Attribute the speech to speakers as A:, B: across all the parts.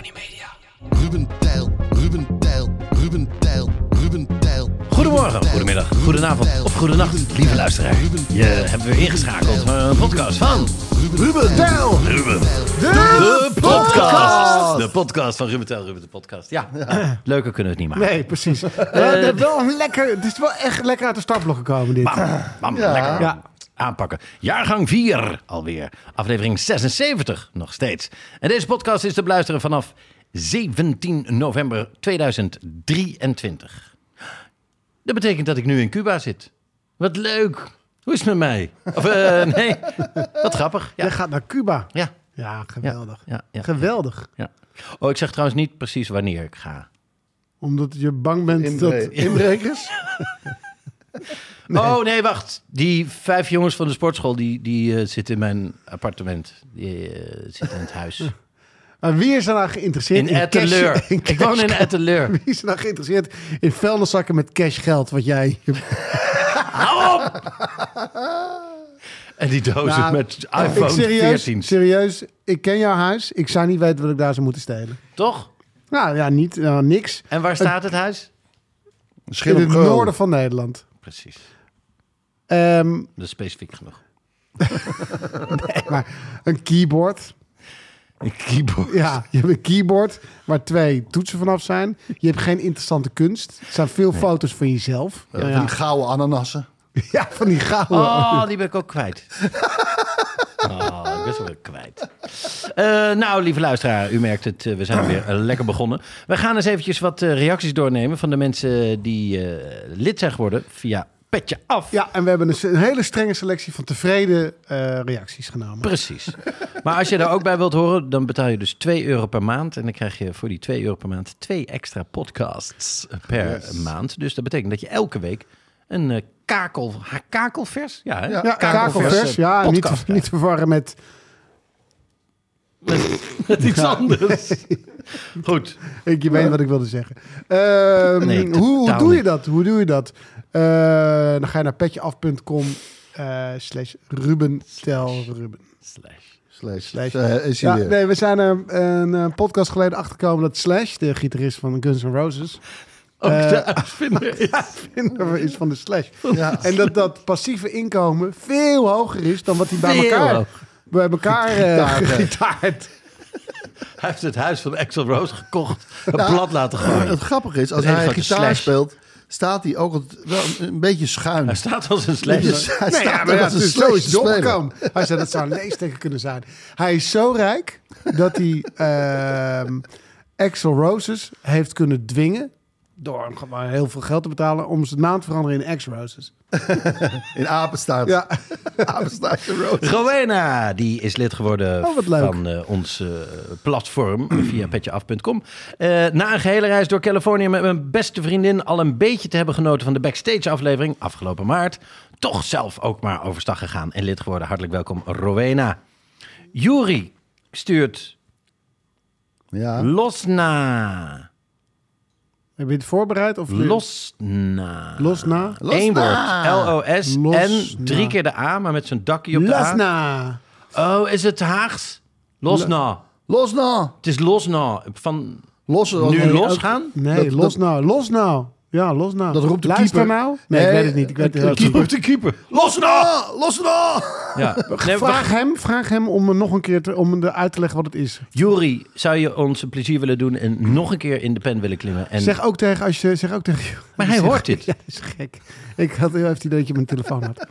A: Ruben Tijl, Ruben Tijl, Ruben Tijl, Ruben Tijl.
B: Goedemorgen, goedemiddag, goedenavond of goedenacht, lieve luisteraar. Je hebt weer ingeschakeld voor een podcast van Ruben Tel. Ruben. De podcast. De podcast van Ruben Tel, Ruben de podcast. Ja, leuker kunnen we het niet maken.
C: Nee, precies. Eh, dat wel een lekker, het is wel echt lekker uit de startblok gekomen dit.
B: Bam, bam, lekker
C: Ja.
B: aanpakken. Jaargang 4 alweer, aflevering 76 nog steeds. En deze podcast is te beluisteren vanaf 17 november 2023. Dat betekent dat ik nu in Cuba zit. Wat leuk. Hoe is het met mij? Of eh, nee, wat grappig. Ja,
C: Jij gaat naar Cuba.
B: ja,
C: Ja, geweldig.
B: Ja, ja, ja.
C: geweldig.
B: ja. Oh, ik zeg trouwens niet precies wanneer ik ga.
C: Omdat je bang bent dat...
A: Inbrekers?
B: Oh, nee, wacht. Die vijf jongens van de sportschool, die, die eh, zitten in mijn appartement. Die eh, zitten in het huis.
C: Maar wie is er nou geïnteresseerd
B: In Etteleur.
C: cash- in
B: Ik woon in
C: cash-
B: Etteleur.
C: Wie is er nou geïnteresseerd in vuilniszakken met cashgeld wat jij...
B: Hou op! En die dozen
C: Nou,
B: met
C: ik,
B: iPhone
C: serieus,
B: 14.
C: serieus, ik ken jouw huis. Ik zou niet weten wat ik daar zou moeten stelen.
B: Toch?
C: Nou ja, niet, nou, niks.
B: En waar staat het huis?
C: In het
A: Geul.
C: noorden van Nederland.
B: Precies.
C: Ehm,
B: Dat is specifiek genoeg.
C: maar een keyboard.
B: Een keyboard.
C: Ja, Dus je hebt een keyboard waar twee toetsen vanaf zijn. Je hebt geen interessante kunst. Er zijn veel foto's van jezelf. Ja,
A: Van
C: ja.
A: die gouden ananassen.
C: Ja, van die gouden.
B: Oh, die ben ik ook kwijt. Oh, ik ben ze wel kwijt. Eh, nou, lieve luisteraar, u merkt het. eh, we zijn weer eh, lekker begonnen. We gaan eens eventjes wat eh, reacties doornemen van de mensen die eh, lid zijn geworden via Petje Af.
C: Ja, en we hebben dus een hele strenge selectie van tevreden eh, reacties genomen.
B: Precies. Maar als je daar ook bij wilt horen, dan betaal je dus 2 euro per maand. En dan krijg je voor die 2 euro per maand twee extra podcasts eh, per maand. Dus dat betekent dat je elke week een eh, kakel, ha, kakelvers? Ja, hè?
C: Ja, kakelvers.
B: eh,
C: Ja, niet,
B: podcast
C: te- niet te verwarren met...
B: met iets anders. Goed.
C: Ik, je weet wat ik wilde zeggen. Ehm,
B: Nee,
C: hoe, hoe
B: totaal
C: doe je
B: niet.
C: dat? Hoe doe je dat? Eh, dan ga je naar petjeaf.com eh, slash Ruben tel Ruben.
B: Slash.
A: Slash.
C: Slash.
A: Eh, Is
C: Ja,
A: hij weer.
C: nee, we zijn er een eh, podcast geleden achtergekomen dat Slash, de gitarist van Guns N' Roses,
B: Ook
C: Eh,
B: de uitvinder is.
C: is van de Slash.
A: Ja.
C: En dat dat passieve inkomen veel hoger is dan wat hij bij
B: Veel
C: elkaar,
B: hoger.
C: bij elkaar
A: Gitaard, hè.
C: eh gitaard.
B: Hij heeft het huis van Axel Rose gekocht. Een blad laten gooien.
A: Het grappige is, als
B: Een hele
A: hij
B: grote
A: gitaar
B: slash.
A: speelt, staat hij ook altijd wel een- een beetje schuin.
B: Hij staat als een slash.
A: Dus Hij
C: Nee, ja,
A: staat
C: maar
A: er
C: ja,
A: als
C: het
A: een
C: is
A: slash
C: zo is
A: te spelen.
C: doorgekomen. Hij zei, dat zou een leesteken kunnen zijn. Hij is zo rijk dat hij ehm Axel Roses heeft kunnen dwingen, door hem gewoon heel veel geld te betalen, om zijn naam te veranderen in Axel Roses.
A: In apenstaart.
C: Ja.
A: Apenstaart en rood.
B: Rowena, die is lid geworden
C: Oh, wat leuk.
B: van eh, ons eh, platform via petjeaf.com. Eh, na een gehele reis door Californië met mijn beste vriendin al een beetje te hebben genoten van de backstage aflevering afgelopen maart. Toch zelf ook maar overstag gegaan en lid geworden. Hartelijk welkom Rowena. Juri stuurt
A: Ja.
B: Losna.
C: Heb je het voorbereid? Of
B: Losna.
C: Los na?
B: Eén woord. L-O-S. En
C: Losna.
B: drie keer de A, maar met zo'n dakje op de
C: Los
B: A.
C: na.
B: Oh, is het Haags? Losna.
A: Los nou.
B: Het is Losna. Van
A: Los
B: nu
A: nou.
B: losgaan?
C: Nee,
A: Dat-
C: los
A: dat-
C: nou. Los nou. Ja, los nou.
D: Dat roept de
C: Luister
D: keeper.
C: nou. Nee, ik weet het niet. Ik weet het
D: de
C: heel goed.
D: keeper, de keeper. Los nou! Los nou!
B: Ja. Nee, we-
C: Vraag hem, vraag hem om me nog een keer te, om me uit te leggen wat het is.
B: Jury, zou je ons een plezier willen doen en nog een keer in de pen willen klimmen? En...
C: Zeg ook tegen als je, zeg ook tegen.
B: maar hij hoort dit.
C: Ja, dat is gek. Ik had heel even het idee dat je mijn telefoon had.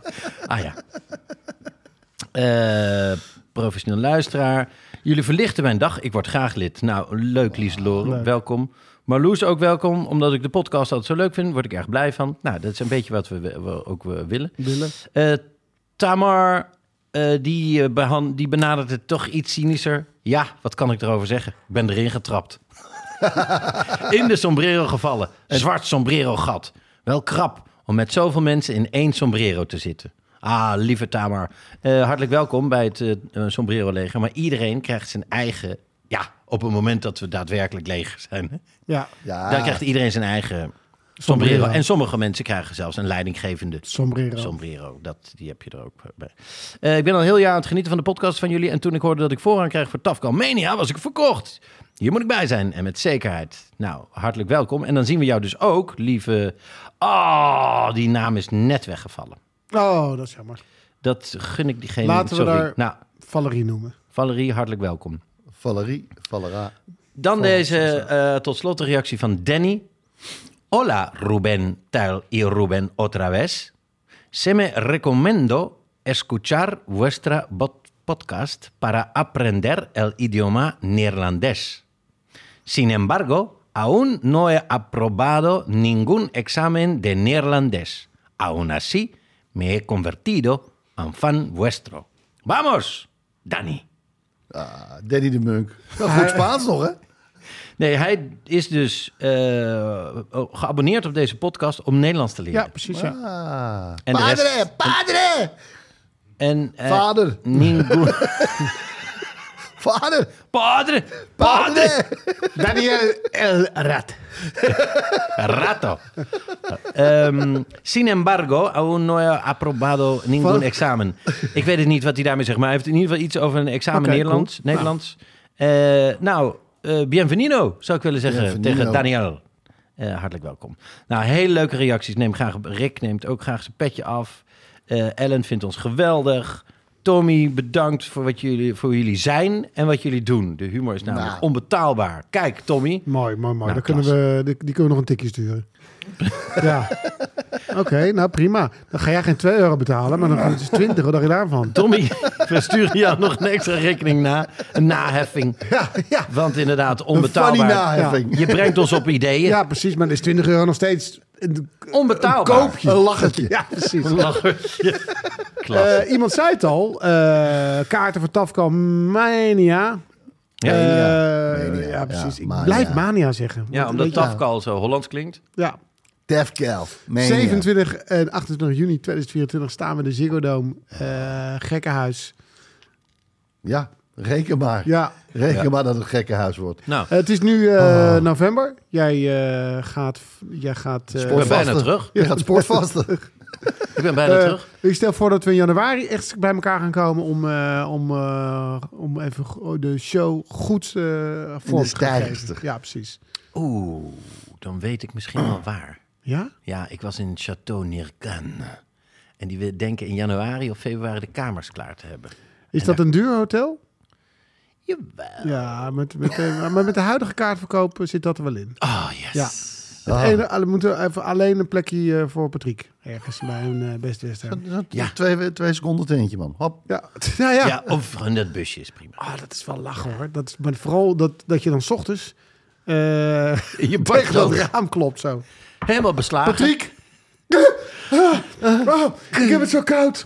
B: Ah ja. Eh, professioneel luisteraar. Jullie verlichten mijn dag. Ik word graag lid. Nou, leuk Lieselore. Welkom. Marloes ook welkom. Omdat ik de podcast altijd zo leuk vind, word ik erg blij van. Nou, dat is een beetje wat we, we ook eh, willen.
C: Willen.
B: Eh, Tamar, eh, die, eh, behan- die benadert het toch iets cynischer. Ja, wat kan ik erover zeggen? Ik ben erin getrapt. in de sombrero gevallen. Een zwart sombrero gat. Wel krap om met zoveel mensen in één sombrero te zitten. Ah, lieve Tamar. eh, hartelijk welkom bij het eh, eh, sombrero leger. Maar iedereen krijgt zijn eigen... Ja, op het moment dat we daadwerkelijk leger zijn. Hè?
C: Ja,
D: Ja,
B: Daar krijgt iedereen zijn eigen sombrero. En sommige mensen krijgen zelfs een leidinggevende
C: sombrero.
B: sombrero. Dat, die heb je er ook bij. Eh, ik ben al een heel jaar aan het genieten van de podcast van jullie. En toen ik hoorde dat ik voorrang krijg voor Tafkan Mania, was ik verkocht. Hier moet ik bij zijn. En met zekerheid. Nou, hartelijk welkom. En dan zien we jou dus ook, lieve... Oh, die naam is net weggevallen.
C: Oh, dat is jammer.
B: Dat gun ik diegene.
C: Laten we
B: Sorry.
C: daar-
B: Nou,
C: Valerie noemen.
B: Valerie, hartelijk welkom.
D: Valerie, Valera. er.
B: Dan deze eh, tot slot de reactie van Danny. Hola Rubén, tal y Rubén otra vez. Se me recomiendo escuchar vuestra bot- podcast para aprender el idioma neerlandés. Sin embargo, aún no he aprobado ningún examen de neerlandés. Aún así, me he convertido en fan vuestro. ¡Vamos, Danny!
D: Ah, Danny de Munk. Nou, goed Spaans nog, hè?
B: Nee, hij is dus eh, geabonneerd op deze podcast om Nederlands te leren.
C: Ja, precies. Ja.
D: Ah.
B: En de
D: padre,
B: rest-
D: padre!
B: En, eh,
D: Vader.
B: Ningu-
D: Vader!
B: padre, padre,
D: Padre!
C: Daniel El Rat.
B: rato. Ehm, sin embargo, aún no he aprobado ningún
C: Van-
B: examen. Ik weet het niet wat hij daarmee zegt, maar hij heeft in ieder geval iets over een examen
C: Oké,
B: Nederlands.
C: cool.
B: Nederlands. Eh, nou, eh, bienvenido, zou ik willen zeggen
D: Bienvenido.
B: tegen Daniel. Eh, hartelijk welkom. Nou, hele leuke reacties. Neem graag, Rick neemt ook graag zijn petje af. Eh, Ellen vindt ons geweldig. Tommy, bedankt voor wat jullie, voor wie jullie zijn en wat jullie doen. De humor is namelijk
D: Nou.
B: onbetaalbaar. Kijk, Tommy.
C: Mooi, mooi, mooi.
B: Nou,
C: Dan kunnen we, die, die kunnen we nog een tikje sturen. ja. Oké, nou prima. Dan ga jij geen 2 euro betalen, maar dan gaan het 20. Wat dacht je daarvan?
B: Tommy, we sturen jou nog een extra rekening na. Een naheffing.
C: ja.
B: Want inderdaad,
D: Funny
B: onbetaalbaar.
D: naheffing.
B: Je brengt ons op ideeën.
C: Ja, precies. Maar dan is 20 euro nog steeds een
B: onbetaalbaar.
C: koopje.
D: Een lachertje.
C: Ja, precies.
B: Lachertje. Klasse.
C: Eh, iemand zei het al. eh, kaarten voor Tafco Mania.
B: Ja,
C: Eh,
D: Mania.
C: ja, precies.
D: Ja,
C: Ik
D: Mania.
C: blijf Mania zeggen.
B: ja,
C: Want-
B: omdat
C: eh, ja.
B: Tafkal zo Hollands klinkt.
C: Ja.
D: Def Kelf.
C: 27 en 28 juni 2024 staan we in de Ziggo Dome. eh, gekkenhuis.
D: Ja, reken maar.
C: Ja.
D: Reken
B: Ja.
D: maar dat het een gekkenhuis wordt.
B: Nou,
C: Eh, het is nu eh, november. Jij eh, gaat... Jij gaat eh,
B: ik ben bijna
D: Sportvasten.
B: terug.
D: Je gaat sportvasten.
B: Ik ben bijna
C: eh,
B: terug.
C: ik stel voor dat we in januari echt bij elkaar gaan komen om, eh, om, eh, om even go- de show goed eh vorm te geven.
D: stijgster.
C: Ja, precies.
B: Oeh, dan weet ik misschien wel waar.
C: Ja?
B: Ja, ik was in Château Nircan. En die we- denken in januari of februari de kamers klaar te hebben.
C: Is dat een duur hotel?
B: Jawel.
C: Ja, met, met, eh, maar met de huidige kaartverkoop zit dat er wel in.
B: Oh, yes.
C: Ja. Het ene, alle- moeten we even alleen een plekje eh, voor Patrick. Ergens bij een eh, Best Western.
B: Ja.
D: Twee, twee seconden tentje, man. Hop.
C: Ja, Nou ja, ja.
B: Ja, of in dat busje is prima.
C: Ah, dat is wel lachen hoor. Dat is, maar vooral dat, dat je dan 's ochtends eh,
B: Je
C: tegen dat raam klopt zo.
B: Helemaal beslagen.
C: Patrick! Oh, ik heb het zo koud.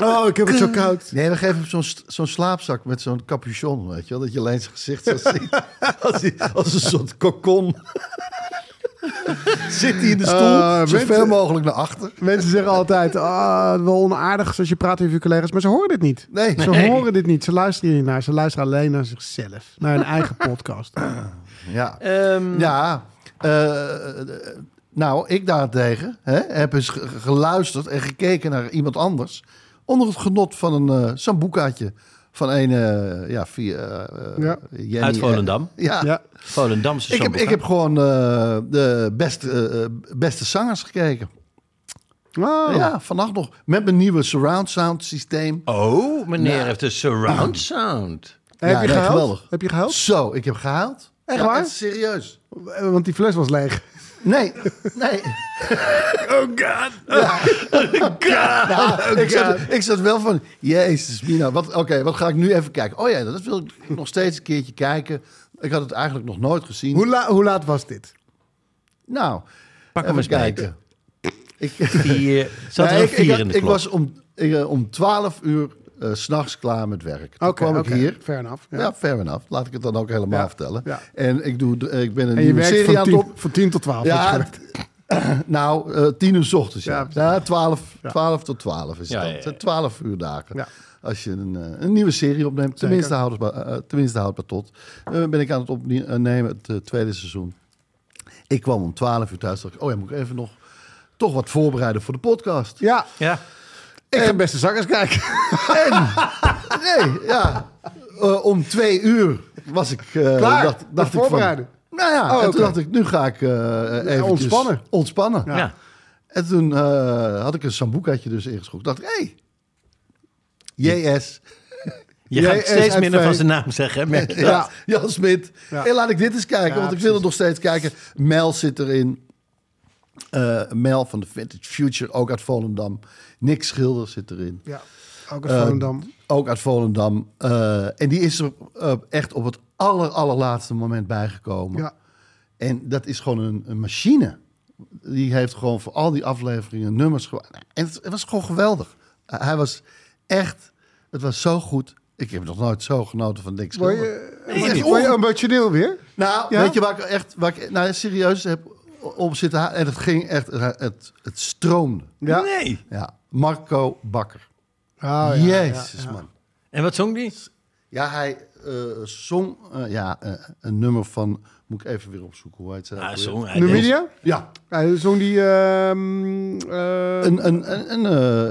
C: Oh, ik heb het zo koud.
D: Nee, we geven hem zo'n st- zo'n slaapzak met zo'n capuchon, weet je wel. Dat je alleen zijn gezicht zo ziet. als, hij- als een soort kokon. Zit hij in de stoel,
C: Eh,
D: zoveel
C: mensen-
D: mogelijk naar achter.
C: Mensen zeggen altijd, ah, wel onaardig zoals je praat tegen je collega's. Maar ze horen dit niet.
D: Nee.
C: Ze horen dit niet. Ze luisteren hier niet naar. Ze luisteren alleen naar zichzelf. Naar hun eigen podcast.
D: Ja.
B: Ehm,
D: Ja, eh, eh, nou, ik daarentegen hè, heb eens ge- geluisterd en gekeken naar iemand anders. Onder het genot van een eh sambucaatje Van een, eh, ja, via... eh,
C: Ja.
D: Jenny,
B: Uit
D: eh,
B: Volendam.
D: ja.
C: Ja.
B: Volendamse
D: Ik, heb,
B: Sambuca.
D: ik heb gewoon eh, de beste, eh, eh, beste zangers gekeken.
C: Oh,
D: Ja, vannacht nog. Met mijn nieuwe surround sound systeem.
B: Oh, meneer
D: Nou.
B: heeft een surround sound.
C: Heb
D: Ja, nee,
C: je gehuild?
D: geweldig.
C: Heb je gehuild?
D: Zo, ik heb gehaald.
C: Echt waar?
D: serieus.
C: Eh, Want die fles was leeg.
D: Nee, nee.
B: Oh god.
D: ik, zat, ik zat wel van, jezus Mina, wat- oké, wat ga ik nu even kijken? Oh ja, dat wil ik nog steeds een keertje kijken. Ik had het eigenlijk nog nooit gezien.
C: Hoe, la- hoe laat was dit?
D: Nou,
B: Pak
D: even
B: hem eens mee.
D: kijken. Ik,
B: Vier. Zat
D: Nee,
B: er een
D: ik, ik,
B: vier
D: had-
B: in de
D: ik
B: klok?
D: was om, ik, eh, om 12 uur eh, 's s'nachts klaar met werk. Toen
C: Oké,
D: kwam
C: oké,
D: ik hier.
C: fair enough, ja.
D: Ja. fair enough. Laat ik het dan ook helemaal
C: Ja,
D: vertellen.
C: ja.
D: En ik, doe, ik ben een
C: En je
D: nieuwe
C: werkt
D: serie
C: van
D: aan het
C: tien,
D: op...
C: van tien tot twaalf.
D: Ja,
C: waarschijnlijk.
D: t- nou, eh, tien uur 's ochtends. Ja,
C: Ja,
D: ja. 12, 12 tot 12 is het
B: Ja,
D: dan.
B: ja, ja.
D: Het zijn 12 uur dagen.
C: Ja.
D: Als je een, eh, een nieuwe serie opneemt, tenminste houdt, het maar, eh, eh, tenminste houdt het maar tot. Eh, ben ik aan het opnemen, het eh, tweede seizoen. Ik kwam om 12 uur thuis. Dacht ik, oh ja, moet ik even nog toch wat voorbereiden voor de podcast.
C: ja, eh,
B: Ja.
C: ik ga beste zangers kijken.
D: Nee, ja. Eh, om twee uur was ik... eh,
C: Klaar,
D: dacht,
C: met
D: dacht ik
C: voorbereiden.
D: Van, nou ja,
C: Oh,
D: en
C: oké.
D: toen dacht ik, nu ga ik even
C: ontspannen.
D: ontspannen.
B: Ja.
D: En toen eh, had ik een sambucaatje dus ingeschrokken. Dacht ik, hé, hey, JS,
B: Je
C: Jij
B: gaat steeds
C: SFV.
B: minder van zijn naam zeggen, hè, merk je dat?
D: ja. Jan Smit.
C: Ja.
D: En laat ik dit eens kijken,
C: Ja,
D: want ik
C: precies.
D: wil het nog steeds kijken. Mel zit erin. Eh, Mel van de Vintage Future, ook uit Volendam. Nick Schilder zit erin.
C: Ja, ook
D: Eh,
C: uit Volendam.
D: Ook uit Volendam. Eh, en die is er eh, echt op het aller, allerlaatste moment bijgekomen.
C: Ja.
D: En dat is gewoon een, een machine. Die heeft gewoon voor al die afleveringen nummers. ge- En het, het was gewoon geweldig. Eh, hij was echt. Het was zo goed. Ik heb nog nooit zo genoten van Dick
C: Word
D: Schilder.
C: je,
D: Het was
C: word je-
D: echt
C: word je
D: onge-
C: emotioneel weer?
D: nou,
C: Ja?
D: weet je waar ik echt waar ik, nou, serieus heb op zitten ha- En het ging echt. Het, het, het stroomde.
C: Ja.
B: Nee.
D: Ja. Marco Bakker.
C: Oh, ja,
D: Jezus,
C: ja, ja.
D: man.
B: En wat zong die?
D: Ja, hij eh, zong eh, ja, eh, een nummer van... Moet ik even weer opzoeken hoe heet ze?
B: Ah, zong hij.
C: Numidia?
D: Ja,
C: Hij zong die... ehm, eh,
D: een, een, een, een,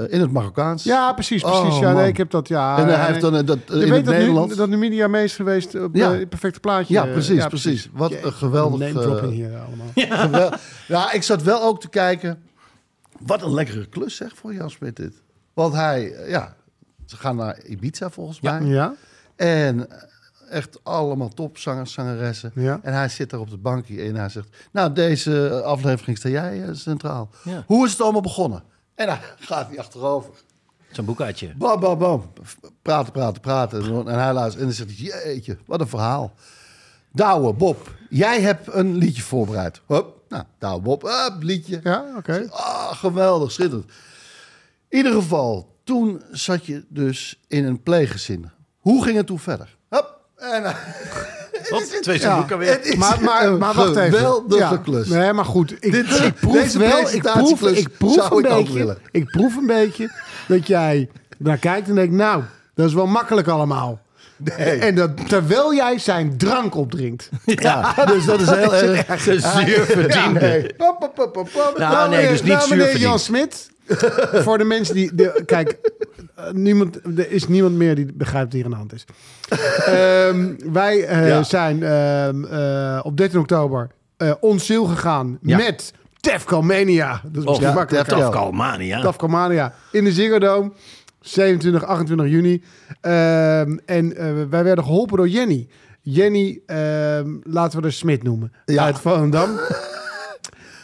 D: eh, in het Marokkaans.
C: ja, precies, precies.
D: Oh,
C: ja, nee,
D: man.
C: ik heb dat, ja.
D: En eh,
C: nee.
D: hij heeft dan eh, dat, eh,
C: Je
D: in
C: weet
D: het
C: dat,
D: Nederlands...
C: Nu, dat Numidia mee is geweest op
D: Ja.
C: eh, perfecte plaatje.
D: Ja,
C: eh,
D: precies, precies. Wat een geweldig,
C: Name dropping
D: eh,
C: hier allemaal.
D: Gewel- ja, ik zat wel ook te kijken... Wat een lekkere klus zeg voor Jan Smit dit. Want hij, eh, ja... Ze gaan naar Ibiza volgens mij.
C: Ja,
D: En eh, echt allemaal topzangers, zangeressen.
C: Ja.
D: En hij zit daar op de bankje en hij zegt... Nou, deze aflevering sta jij eh, centraal.
B: Ja.
D: Hoe is het allemaal begonnen? En dan gaat hij achterover.
B: Zo'n boekhoudje.
D: Bam, bam, bam. Praten, praten, praten. En hij luistert en dan zegt hij... Jeetje, wat een verhaal. Douwe, Bob, jij hebt een liedje voorbereid. Hup, nou, Douwe, Bob, hup, liedje.
C: ja oké.
D: Ah, geweldig, schitterend. In ieder geval, toen zat je dus in een pleeggezin. Hoe ging het toen verder? Hup, en, eh,
B: Hop, twee Sambuca weer.
D: het is
C: Maar, maar,
D: een
C: maar wacht even.
D: geweldige
C: Ja.
D: klus.
C: Nee, maar goed. Ik,
D: Dit-
C: ik proef
D: deze
C: wel, ik proef,
D: presentatieklus
C: ik proef
D: zou
C: een
D: ik ook
C: beetje,
D: willen.
C: ik proef een beetje dat jij naar kijkt en denkt, nou, dat is wel makkelijk allemaal. En dat terwijl jij zijn drank opdrinkt.
D: Ja, dus dat is heel erg.
B: Ze zuur verdiende.
D: nee. Hop, hop, hop, hop, hop.
B: Nou, nee, dus niet
C: nou, meneer
B: zuur
C: Jan Smit, voor de mensen die... De, kijk, eh, niemand, er is niemand meer die begrijpt wat hier aan de hand is. Ehm, wij eh,
D: Ja.
C: zijn ehm, eh, op 13 oktober eh on sale gegaan
B: Ja.
C: met Tefco Mania. Oh, Dat is misschien
D: ja,
C: makkelijker.
D: Tefco.
B: Of Kalmania.
C: Tafka Mania in de Ziggo Dome. 27, 28 juni. Ehm, en eh, wij werden geholpen door Jenny. Jenny, ehm, laten we haar Smit noemen.
D: Ja.
C: Uit Volendam.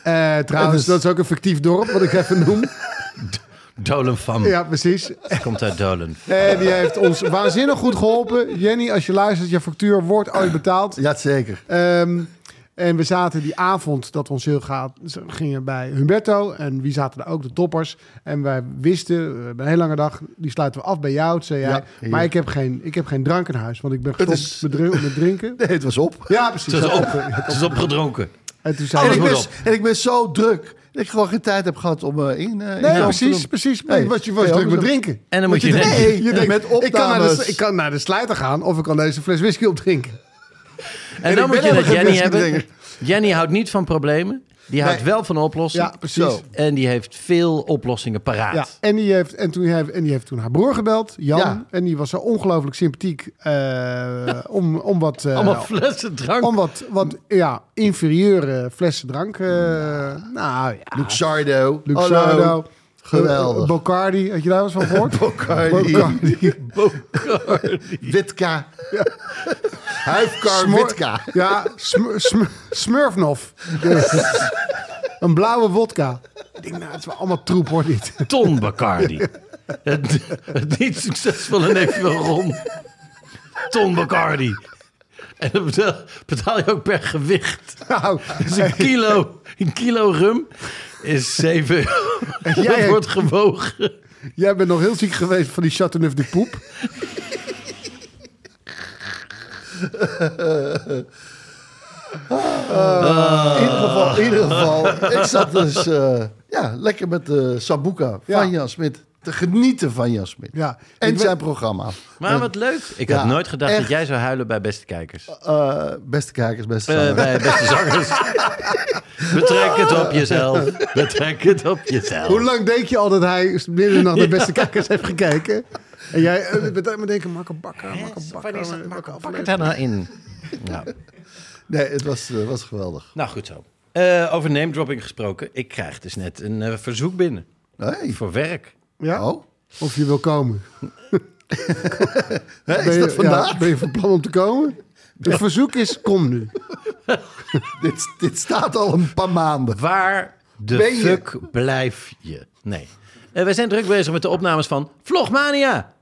C: Eh, trouwens,
D: Het is-
C: dat is ook een fictief dorp, wat ik even noem.
B: Dolen van.
C: Ja, precies.
B: Komt uit Dolen.
C: En die heeft ons waanzinnig goed geholpen. Jenny, als je luistert, je factuur wordt ooit betaald.
D: Ja, zeker.
C: Ehm, en we zaten die avond dat we ons heel gaat, gingen bij Humberto. En wie zaten daar ook? De toppers. En wij wisten, eh, we hebben een hele lange dag, die sluiten we af bij jou, zei jij.
D: Ja, hier.
C: maar ik heb, geen, ik heb geen drank in huis, want ik ben gestopt
D: is-
C: met, drin- met drinken.
D: Nee, het was op.
C: Ja, precies.
B: Ze is, op, ze is opgedronken.
C: En toen
D: En
C: zeiden
D: ik,
C: we...
B: moet
D: ben,
B: op.
D: en ik ben zo druk dat ik gewoon geen tijd heb gehad om eh, in, eh, in
C: Nee,
D: te
C: precies,
D: doen.
C: precies.
D: Nee.
C: Nee, was je was
D: Nee,
C: druk met
D: anders-
C: drinken.
B: En dan moet je
C: Want
B: denken.
C: denkt, je
D: Ja.
C: denkt,
D: Met
C: ik kan, naar de,
D: opnames.
C: ik kan naar de slijter gaan of ik kan deze fles whisky opdrinken.
B: En dan
D: ik
B: moet
D: ben
B: je
D: helemaal
B: dat
D: geen
B: Jenny hebben.
D: whisky-drinker.
B: Jenny houdt niet van problemen. Die houdt
C: Nee.
B: wel van oplossingen.
C: Ja, precies.
D: Zo.
B: En die heeft veel oplossingen paraat.
C: Ja, en die, heeft, en, toen, hij- en die heeft toen haar broer gebeld, Jan.
D: Ja.
C: En die was zo ongelooflijk sympathiek eh, om, om wat... eh,
B: Allemaal flessen drank.
C: om wat, wat ja, inferieure flessen drank. eh, nou ja. Oh,
D: Luxardo.
C: nou, Luxardo.
D: Geweldig.
C: Eh, Bocardi, had je daar wel eens van gehoord?
D: Bocardi.
B: Oh.
D: Witka. Huifkar
C: Smor-
D: Witka.
C: Ja, sm- sm- Smurfnoff. Een blauwe wodka. Ik denk, nou, het is wel allemaal troep hoor dit.
B: Ton Bacardi. het, het niet succesvolle neefje van Ron. Ton Bacardi. En dan betaal, betaal je ook per gewicht.
C: Nou,
B: Dus een kilo, een kilo rum is 7 euro. Dat
C: hebt-
B: wordt gewogen.
C: jij bent nog heel ziek geweest van die Chateauneuf de Poep.
D: In ieder geval, in ieder geval ik zat dus eh, ja, lekker met de Sabuka
C: Ja.
D: van Jan Smit te genieten van Jan Smit.
C: Ja.
D: En
C: Ik
D: zijn
C: ben-
D: programma.
B: Maar wat leuk. Ik
D: Ja,
B: had nooit gedacht dat
D: echt.
B: jij zou huilen bij beste kijkers.
D: Eh, beste kijkers, beste
B: Eh,
D: zangers.
B: bij beste zangers. Betrek het op jezelf. Betrek het op jezelf.
C: Hoe lang denk je al dat hij midden in de nacht de beste kijkers heeft gekeken? En jij eh, bent maar denken, Marco Bakker, Marco Bakker. eh, Marco
B: Pak
C: Bakker.
B: het daar nou in. Nou.
D: Nee, het was, eh, was geweldig.
B: Nou, goed zo. Eh over name dropping gesproken. Ik krijg dus net een eh, verzoek binnen.
D: Nee.
B: Voor werk.
C: Ja?
D: Oh.
C: Of je wil komen.
D: Hè,
C: Ben
D: is
C: je,
D: dat vandaag?
C: ja, ben je van plan om te komen? Het verzoek is, kom nu.
D: dit, dit staat al een paar maanden.
B: Waar de
D: Ben je?
B: fuck blijf je? Nee. Eh, wij zijn druk bezig met de opnames van Vlogmania.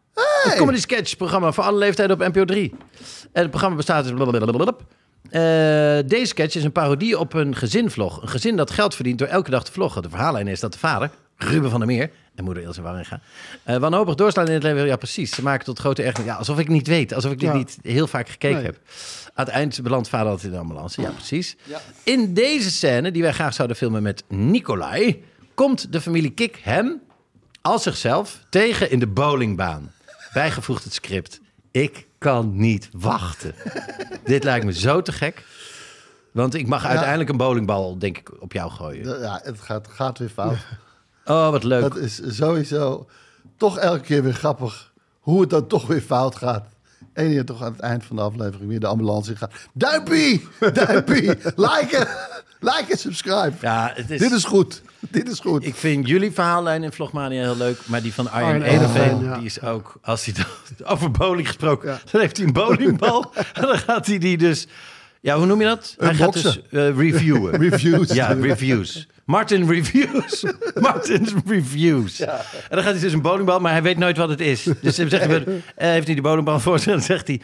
B: Het comedy sketch programma voor alle leeftijden op NPO 3. En Eh, het programma bestaat uit... blablabla. Eh, deze sketch is een parodie op een gezinvlog. Een gezin dat geld verdient door elke dag te vloggen. De verhaallijn is dat de vader, Ruben van der Meer... en moeder Ilse Waringa... eh wanhopig doorslaan in het leven. Ja, precies. Ze maken tot grote ergernis. Ja, alsof ik niet weet. Alsof ik dit
C: Ja.
B: niet heel vaak gekeken
C: Nee.
B: heb. Aan het eind belandt vader altijd in de ambulance. Ja, precies. In deze scène, die wij graag zouden filmen met Nicolai... komt de familie Kik hem als zichzelf tegen in de bowlingbaan. Bijgevoegd het script. Ik kan niet wachten. Dit lijkt me zo te gek. Want ik mag uiteindelijk een bowlingbal, denk ik, op jou gooien.
D: Ja, het gaat, gaat weer fout.
B: Oh, wat leuk.
D: Dat is sowieso toch elke keer weer grappig hoe het dan toch weer fout gaat. En je toch aan het eind van de aflevering weer de ambulance in gaat. Duimpie! Duimpie! like en- like en subscribe.
B: Ja, het is-
D: Dit is goed. Dit is goed.
B: Ik vind jullie verhaallijn in Vlogmania heel leuk, maar die van Arjen
C: Arjen
B: Edeveen,
C: Edeveen, ja.
B: die is ook, als hij dan, over bowling gesproken, dan heeft hij een bowlingbal en dan gaat hij die dus, ja, hoe noem je dat? Hij gaat dus
D: Unboxen.
B: eh, reviewen.
D: Reviews.
B: Ja, reviews. Martin reviews. Martin's reviews. En dan gaat hij dus een bowlingbal, maar hij weet nooit wat het is. Dus hij zegt, eh, heeft hij die bowlingbal voor zich en dan zegt hij...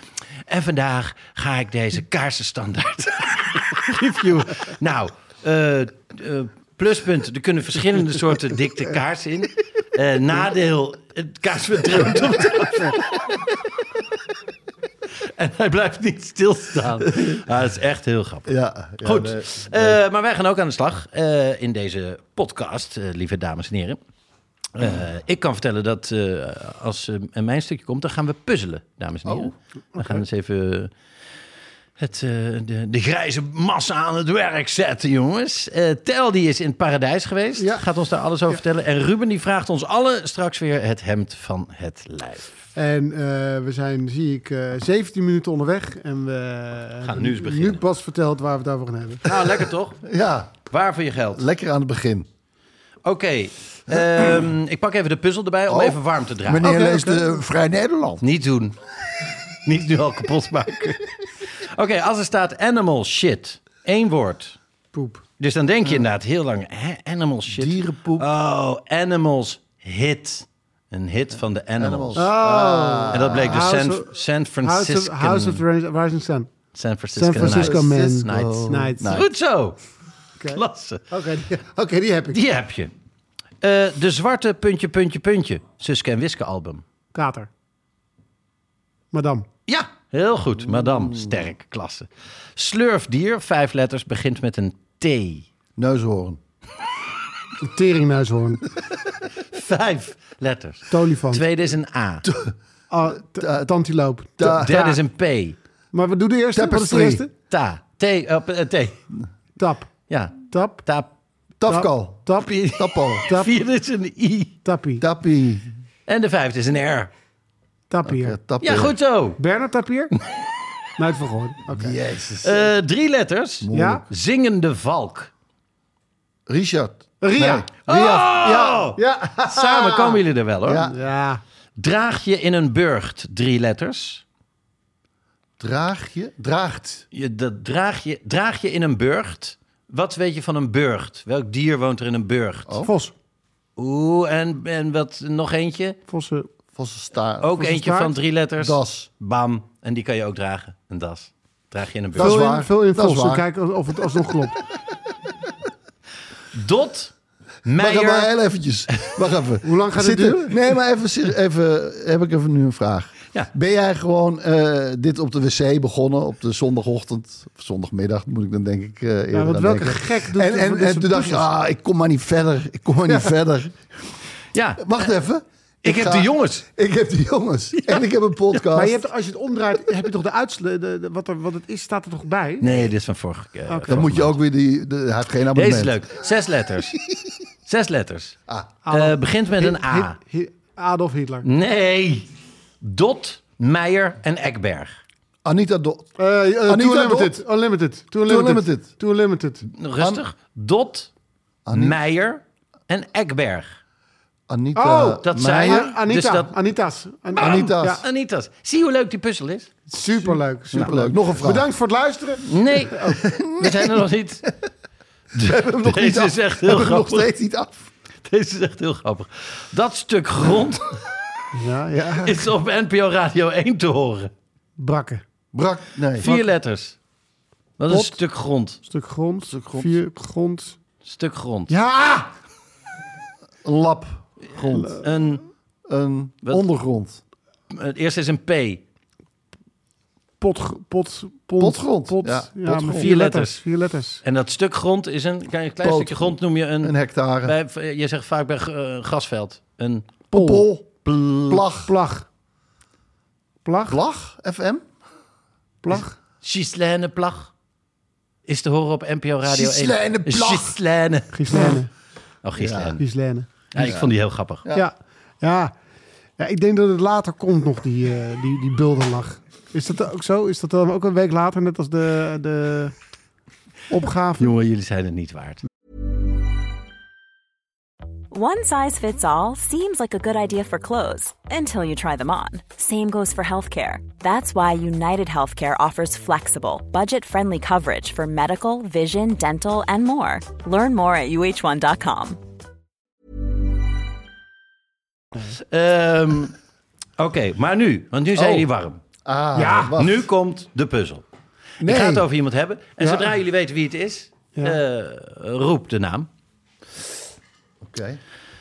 B: En vandaag ga ik deze kaarsenstandaard review. Nou, eh, eh, pluspunt, er kunnen verschillende soorten dikte kaarsen in. Eh, nadeel, het kaars verdroogt op de En hij blijft niet stilstaan. Ah, dat is echt heel grappig.
D: Ja, ja,
B: Goed.
D: nee.
B: Eh, maar wij gaan ook aan de slag eh, in deze podcast, eh, lieve dames en heren.
D: Oh.
B: Eh, ik kan vertellen dat eh, als eh, mijn stukje komt, dan gaan we puzzelen, dames
D: Oh,
B: en heren. We gaan eens even eh, het, eh, de, de grijze massa aan het werk zetten, jongens. Eh, Tel die is in het paradijs geweest,
C: Ja.
B: gaat ons daar alles over vertellen. En Ruben die vraagt ons allen straks weer het hemd van het lijf.
C: En eh, we zijn, zie ik, eh 17 minuten onderweg. En we
B: Gaan nu eens beginnen.
C: Nu pas verteld waar we het over gaan hebben.
B: Nou, lekker toch?
D: ja,
B: Waar voor je geld?
D: lekker aan het begin.
B: Oké, ehm, ik pak even de puzzel erbij om
D: Oh.
B: even warm te draaien.
D: Meneer leest de Vrij Nederland.
B: Niet doen. Niet nu al kapot maken. Oké, als er staat animal shit. één woord.
C: Poep.
B: Dus dan denk je inderdaad heel lang, hè, animal shit.
D: Dierenpoep.
B: Oh, animals hit. Een hit van de animals.
D: Animals.
B: En dat bleek dus
C: House
B: San,
C: of-
B: San
C: Ah, House of,
B: Francisco.
C: House of Rise- Rising Sun.
B: San Francisco,
C: San Francisco
B: Nights.
C: Man. Oh.
D: Nights.
B: Nights.
C: Nights.
D: Nights.
B: Goed zo.
C: Oké.
B: Klasse.
C: Oké, die- oké, die heb ik.
B: Die heb je. Eh, de zwarte puntje, puntje, puntje. Suske en Wiske album.
C: Kater. Madame.
B: Ja, heel goed. Madame, sterk, klasse. Slurfdier, vijf letters, begint met een T.
D: Neushoorn.
C: Een Teringneushoorn.
B: Vijf letters.
C: Tolifant.
B: Tweede is een A.
C: Ah, t- eh, Tantiloop.
D: Ta-
B: Derde is een P.
C: Maar we doen de eerste. Wat is de
D: Tapestry.
C: eerste?
B: Ta. T. eh, p- eh, T.
C: Tap.
B: Ja.
C: Tap.
B: Tap.
D: Tafkal.
C: Tappie.
D: Tappal.
B: De vierde is een I.
C: Tappie.
D: Tappie.
B: En de vijfde is een R.
C: Tappier.
D: Ja, tappie.
B: Ja, goed zo.
C: Bernard Tappier? Nuit van Goorn. Oké.
D: Jezus.
B: Eh, drie letters.
C: Ja?
B: Zingende valk.
D: Richard.
C: Ria.
D: Nee, Ria. Ja.
B: Oh!
D: ja.
B: Samen komen jullie er wel hoor.
D: Ja.
C: Ja.
B: Draag je in een burcht. Drie letters.
D: Draag je? Draagt.
B: Je, dat draag, je, draag je in een burcht. Wat weet je van een burcht? Welk dier woont er in een burcht?
D: Oh.
C: Vos.
B: Oeh, en, en wat, nog eentje?
C: Vossen.
D: Vosse staart.
B: Ook
C: een
B: eentje
C: staart?
B: van drie letters.
D: Das.
B: Bam. En die kan je ook dragen. Een das. Draag je in een
D: Dat is
B: burcht.
C: Vul in,
D: waar.
C: vul in
D: Dat is
C: Vos en
D: waar.
C: kijk of het alsnog klopt.
B: Dot.
D: Wacht even, maar
B: Meijer.
D: heel eventjes. Wacht even.
C: Hoe lang gaat het
D: Zitten-
C: duren?
D: Nee, maar even, ser- even, heb ik even nu een vraag.
B: Ja.
D: Ben jij gewoon eh, dit op de wc begonnen op de zondagochtend? Of zondagmiddag moet ik dan denk ik eh eerder
C: Ja, want
D: aan
C: welke
D: denken.
C: gek doet
D: En, en, en toen dacht je, ah, ik kom maar niet verder. Ik kom maar niet verder.
B: Ja,
D: Wacht even.
B: ik heb
D: ga-
B: de jongens.
D: Ik heb de jongens. En ik heb een podcast.
C: Maar je hebt, als je het omdraait, heb je toch de uitslag, de, de- wat, er, wat het is, staat er toch bij?
B: Nee, dit is van vorige keer.
D: Dan moet je ook weer die... de- hij heeft geen abonnement.
B: Deze is leuk. Zes letters. Zes letters.
D: Ah.
B: Eh, begint met een A.
C: Hi- Hi- Adolf Hitler.
B: Nee. Dot, Meijer en Ekberg.
D: Anita Do
C: Eh, eh,
D: Anita
C: Too Unlimited.
D: Dot.
C: Unlimited. Too
D: Too
C: Unlimited.
D: Unlimited.
C: Too Unlimited.
B: Rustig. Dot, Meijer en Ekberg.
D: Anita
C: Oh,
B: dat
D: Meijer.
B: zei je.
C: Ah, Anita.
B: Dus dat-
C: Anita's. An-
D: Ah. Anita's.
C: Ja,
B: Anitas, zie hoe leuk die puzzel is?
C: superleuk. superleuk.
D: Leuk. Nog een vraag.
C: Bedankt voor het luisteren.
B: Nee, we Oh. zijn er nog niet.
D: Nog niet
B: Deze
D: af.
B: is echt heel
D: Nog
B: grappig.
D: steeds niet af.
B: Deze is echt heel grappig. Dat stuk grond
C: Ja, ja.
B: is op NPO Radio 1 te horen.
C: Brakken.
D: Brak. Nee.
B: Vier letters. Wat een
C: Pot.
B: stuk grond.
C: Stuk grond. Vier grond.
B: Stuk grond.
C: Ja!
D: Een lab. Grond.
B: Een,
D: Een
B: Wat?
D: ondergrond.
B: het eerste is een P.
C: Pot, pot, pot,
D: Potgrond.
C: Pot,
D: Ja,
C: ja,
D: potgrond.
C: maar
B: Vier
C: vier
B: letters.
C: letters. Vier letters.
B: En dat stuk grond is een klein, klein
D: Poot.
B: stukje grond noem je een.
D: Een hectare.
B: bij, eh, je zegt vaak bij eh, grasveld een
D: Pol.
B: pl-
D: Plag.
C: Plag. Plag?
D: Plag? FM?
C: Plag?
B: Gislaine plag. Is te horen op NPO Radio 1.
D: Ghislaine Plag.
B: Gislaine.
C: Gislaine.
B: Oh, Gislaine. Ja.
C: Gislaine.
B: ik vond die heel grappig.
C: Ja. Ja. ja. ik denk dat het later komt nog, die, eh, die, die bulderlag. Is dat ook zo? Is dat dan ook een week later, net als de, de opgave?
B: Jongen, jullie zijn het niet waard.
E: One size fits all seems like a good idea for clothes until you try them on. Same goes for healthcare. That's why United Healthcare offers flexible, budget friendly coverage for medical, vision, dental, and more. Learn more at uh1.com.
B: Ehm, Oké, maar nu. Want nu zijn
D: Oh.
B: jullie warm.
D: Ah,
B: ja,
D: wacht.
B: nu komt de puzzel.
D: Nee.
B: Ik ga het over iemand hebben. En
C: Ja.
B: zodra jullie weten wie het is,
C: Ja.
B: eh, roep de naam.
D: Oké.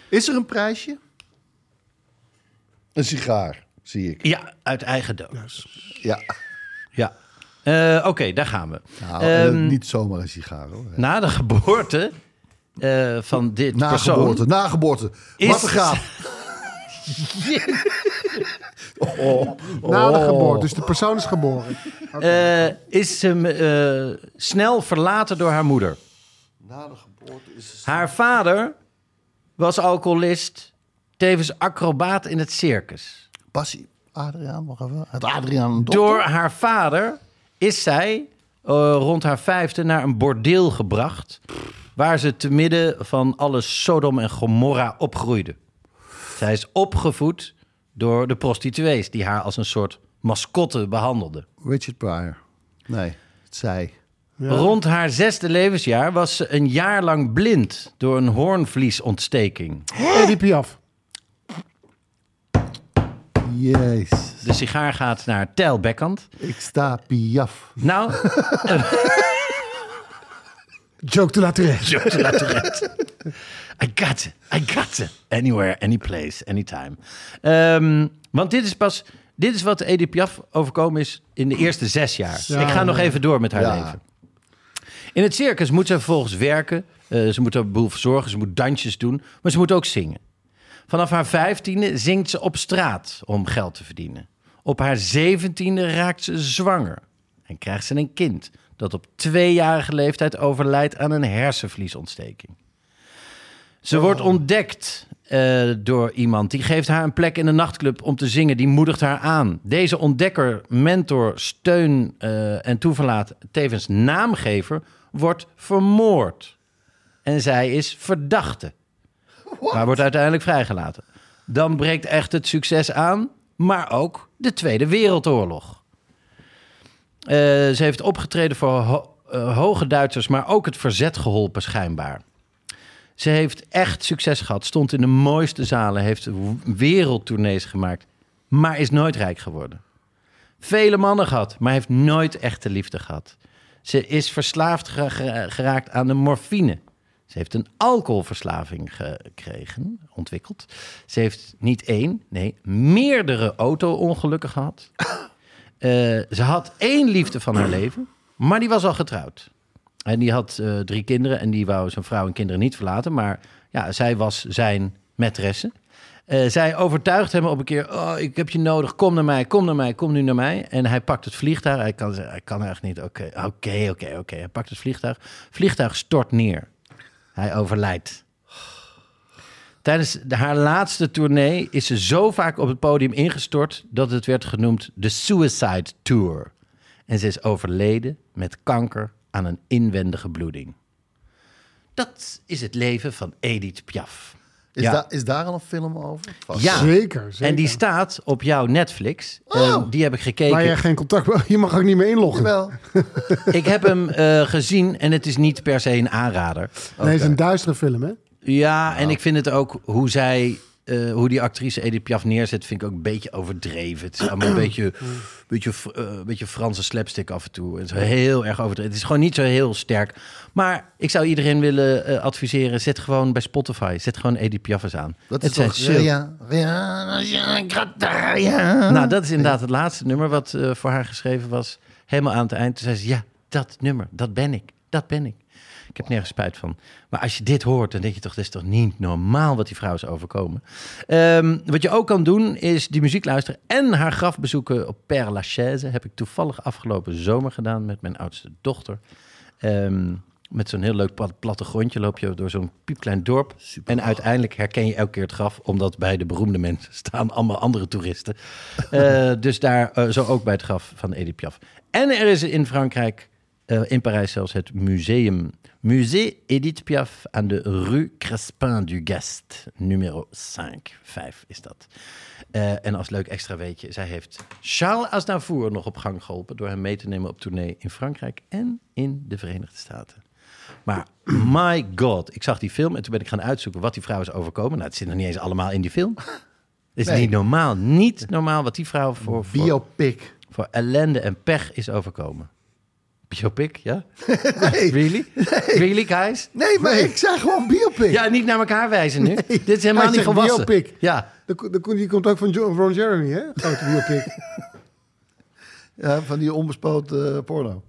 D: Is er een prijsje? Een sigaar, zie ik.
B: Ja, uit eigen dood.
D: Ja.
B: Ja. Eh, Oké, daar gaan we.
D: Nou, eh,
B: Ehm,
D: niet zomaar een sigaar hoor.
B: Na de geboorte eh, van dit
D: Na
B: persoon...
D: geboorte, na geboorte.
B: Is-
D: Wat een gaaf.
C: Na
B: Oh.
C: de geboorte. Dus de persoon is geboren.
B: eh, is ze eh, snel verlaten door haar moeder.
D: Na de geboorte is het...
B: Haar vader was alcoholist, tevens acrobaat in het circus.
D: Bassie, Adriaan, wacht even. Het Adriaan dokter?
B: Door haar vader is zij eh, rond haar vijfde naar een bordeel gebracht... waar ze te midden van alle Sodom en Gomorra opgroeide. Zij is opgevoed door de prostituees... die haar als een soort mascotte behandelden.
D: Richard Pryor. Nee, het zij.
B: Rond haar zesde levensjaar was ze een jaar lang blind door een hoornvliesontsteking.
C: Eddie Piaf.
D: Jezus.
B: De sigaar gaat naar Tijl Bekkant.
D: Ik sta piaf.
B: Nou,
C: Joke de la Tourette.
B: George La Tourette. I got it, I got it. Anywhere, anyplace, anytime. Ehm, want dit is pas, dit is wat Edith Piaf overkomen is in de eerste zes jaar. Ik ga nog even door met haar
D: Ja.
B: leven. In het circus moet ze vervolgens werken. Eh, ze moet haar boel verzorgen, ze moet dansjes doen, maar ze moet ook zingen. Vanaf haar vijftiende zingt ze op straat om geld te verdienen. Op haar zeventiende raakt ze zwanger en krijgt ze een kind dat op tweejarige leeftijd overlijdt aan een hersenvliesontsteking. Ze wordt ontdekt eh, door iemand. Die geeft haar een plek in een nachtclub om te zingen. Die moedigt haar aan. Deze ontdekker, mentor, steun eh, en toeverlaat, tevens naamgever, wordt vermoord. En zij is verdachte. Maar wordt uiteindelijk vrijgelaten. Dan breekt echt het succes aan, maar ook de Tweede Wereldoorlog. Eh, ze heeft opgetreden voor ho- eh, hoge Duitsers, maar ook het verzet geholpen schijnbaar. Ze heeft echt succes gehad, stond in de mooiste zalen, heeft w- wereldtournees gemaakt, maar is nooit rijk geworden. Vele mannen gehad, maar heeft nooit echte liefde gehad. Ze is verslaafd ge- ge- geraakt aan de morfine. Ze heeft een alcoholverslaving gekregen, ontwikkeld. Ze heeft niet één, nee, meerdere auto-ongelukken gehad. Eh, ze had één liefde van haar leven, maar die was al getrouwd. En die had eh, drie kinderen en die wou zijn vrouw en kinderen niet verlaten. Maar ja, zij was zijn maîtresse. Eh, zij overtuigt hem op een keer, oh, ik heb je nodig, kom naar mij, kom naar mij, kom nu naar mij. En hij pakt het vliegtuig, hij kan, hij kan echt niet, oké, oké, oké, oké. Hij pakt het vliegtuig, vliegtuig stort neer. Hij overlijdt. Tijdens de- haar laatste tournee is ze zo vaak op het podium ingestort dat het werd genoemd de Suicide Tour. En ze is overleden met kanker aan een inwendige bloeding. Dat is het leven van Edith Piaf.
D: Is,
B: Ja.
D: daar- is daar al een film over? Vast.
B: Ja.
C: Zeker, zeker.
B: En die staat op jouw Netflix. Eh, die heb ik gekeken.
C: Waar jij geen contact Je mag ook niet meer inloggen.
D: Wel,
B: Ik heb hem eh, gezien en het is niet per se een aanrader.
C: Nee, het is een duistere film, hè?
B: Ja,
D: Nou.
B: en ik vind het ook hoe zij. eh, hoe die actrice Edith Piaf neerzet, vind ik ook een beetje overdreven. Het is allemaal een beetje, beetje, fr- eh, beetje Franse slapstick af en toe. Het is heel erg overdreven. Het is gewoon niet zo heel sterk. Maar ik zou iedereen willen eh, adviseren: zet gewoon bij Spotify, zet gewoon Edith Piaf eens aan.
D: dat
B: Het
D: is
B: zijn
D: toch...
B: zulke-
D: Ja, ja, ja, ja, ja.
B: Nou, dat is inderdaad het laatste nummer wat eh, voor haar geschreven was. Helemaal aan het eind. Toen zei ze, ja, dat nummer, dat ben ik. Dat ben ik. Ik heb nergens spijt van. Maar als je dit hoort, dan denk je toch, dit is toch niet normaal wat die vrouw is overkomen. Ehm, wat je ook kan doen, is die muziek luisteren en haar graf bezoeken op Père Lachaise. Heb ik toevallig afgelopen zomer gedaan met mijn oudste dochter. Ehm, met zo'n heel leuk plat- plattegrondje loop je door zo'n piepklein dorp. en uiteindelijk herken je elke keer het graf, omdat bij de beroemde mensen staan allemaal andere toeristen. Eh, dus daar eh, zo ook bij het graf van Edith Piaf. En er is in Frankrijk, eh, in Parijs zelfs, het museum. Musée Edith Piaf aan de Rue Crespin du Gast, nummer 5. 5 is dat. Eh, en als leuk extra weetje, zij heeft Charles Aznavour nog op gang geholpen door hem mee te nemen op tournee in Frankrijk en in de Verenigde Staten. Maar my god, ik zag die film en toen ben ik gaan uitzoeken wat die vrouw is overkomen. Nou, het zit nog niet eens allemaal in die film. Het is
D: Nee.
B: niet normaal, niet normaal wat die vrouw voor, voor,
D: Biopic.
B: voor ellende en pech is overkomen. Biopic, ja? Really? Really, guys?
D: Nee, maar ik zei gewoon biopic.
B: Ja, niet naar elkaar wijzen nu. Dit is helemaal
C: Hij
B: niet
C: zegt
B: gewassen.
C: biopic.
B: Ja,
C: De, ko- de, ko- die komt ook van John, Ron Jeremy, hè? Grote biopic.
D: Ja, van die onbespoten eh, porno.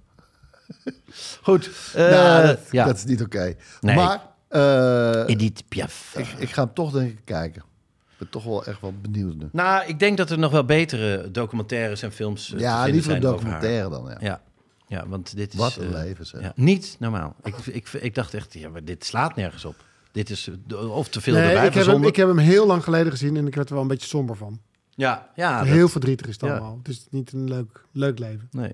B: goed. Eh,
D: nou, dat,
B: ja.
D: dat is niet oké.
B: Nee.
D: Maar eh,
B: Edith Piaf.
D: ik, ik ga hem toch denk ik kijken. Ik ben toch wel echt wel benieuwd nu.
B: Nou, ik denk dat er nog wel betere documentaires en films eh, te
D: ja,
B: vinden
D: liever een
B: zijn over haar.
D: documentaire dan. Ja.
B: Ja. ja, want dit is...
D: Wat een
B: eh,
D: leven, zeg.
B: ja, Niet normaal. Ik, ik, ik dacht echt, ja, maar dit slaat nergens op. Dit is eh, d- of te veel
C: Nee,
B: erbij
C: ik, heb hem,
B: verzonnen.
C: ik heb hem heel lang geleden gezien en ik werd er wel een beetje somber van.
B: Ja, ja. dat-
C: heel verdrietig is het
B: ja.
C: allemaal. Het is niet een leuk, leuk leven.
B: Nee.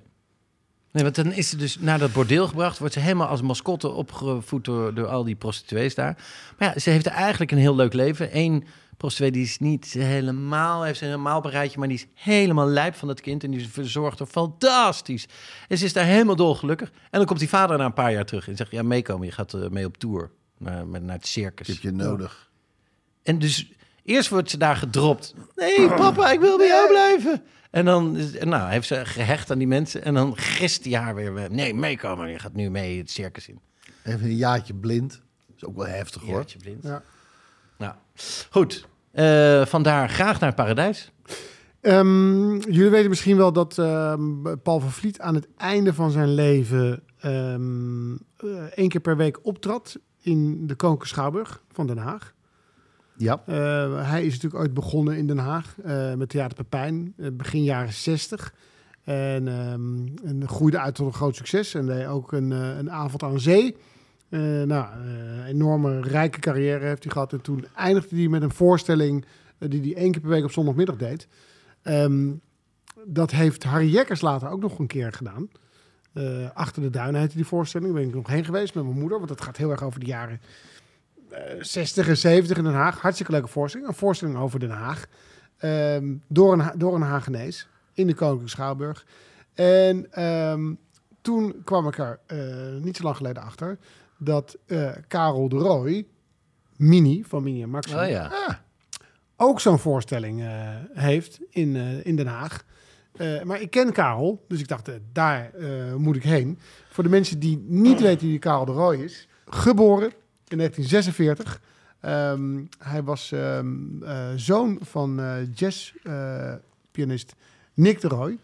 B: Nee, want dan is ze dus naar dat bordeel gebracht. Wordt ze helemaal als mascotte opgevoed door, door al die prostituees daar. Maar ja, ze heeft eigenlijk een heel leuk leven. Eén prostituee die is niet helemaal... heeft ze helemaal op een rijtje, maar die is helemaal lijp van dat kind. En die verzorgt haar fantastisch. En ze is daar helemaal dolgelukkig. En dan komt die vader na een paar jaar terug en zegt... Ja, meekomen, je gaat eh, mee op tour. Naar, met- naar het circus.
D: Die heb je nodig.
B: En dus eerst wordt ze daar gedropt. Nee,
C: Oh.
B: papa, ik wil bij jou blijven. En dan is- en nou, heeft ze gehecht aan die mensen. En dan gist hij haar weer. weg. Nee, meekomen. Je gaat nu mee het circus in.
D: Even een jaartje blind. Is ook wel heftig hoor.
B: Jaartje blind.
C: Ja.
B: Nou, goed. Eh, vandaar graag naar het paradijs.
C: Ehm, jullie weten misschien wel dat ehm, Paul van Vliet aan het einde van zijn leven ehm, eh, één keer per week optrad in de Koninklijke Schouwburg van Den Haag.
D: Ja.
C: Eh, hij is natuurlijk ooit begonnen in Den Haag eh, met Theater Pepijn, eh, begin jaren 60. En, ehm, en groeide uit tot een groot succes. En deed ook een, eh, een avond aan zee. Eh, nou, eh, enorme rijke carrière heeft hij gehad. En toen eindigde hij met een voorstelling eh, die hij één keer per week op zondagmiddag deed. Ehm, dat heeft Harry Jekkers later ook nog een keer gedaan. Eh, Achter de Duinen heette die voorstelling. Daar ben ik nog heen geweest met mijn moeder. Want dat gaat heel erg over de jaren eh, 60 en 70 in Den Haag. Hartstikke leuke voorstelling. Een voorstelling over Den Haag. Ehm, door, een, Ha- door een Hagenees. In de Koninklijke Schouwburg. En ehm, toen kwam ik er eh, niet zo lang geleden achter... dat eh, Karel de Rooij, Mini van Mini en Maxi
B: Oh ja.
C: ook zo'n voorstelling eh, heeft in, eh, in Den Haag. Eh, maar ik ken Karel, dus ik dacht, eh, daar eh, moet ik heen. Voor de mensen die niet weten wie Karel de Rooij is. Geboren in 1946. Ehm, hij was ehm, eh, zoon van eh jazzpianist Nick de Rooij.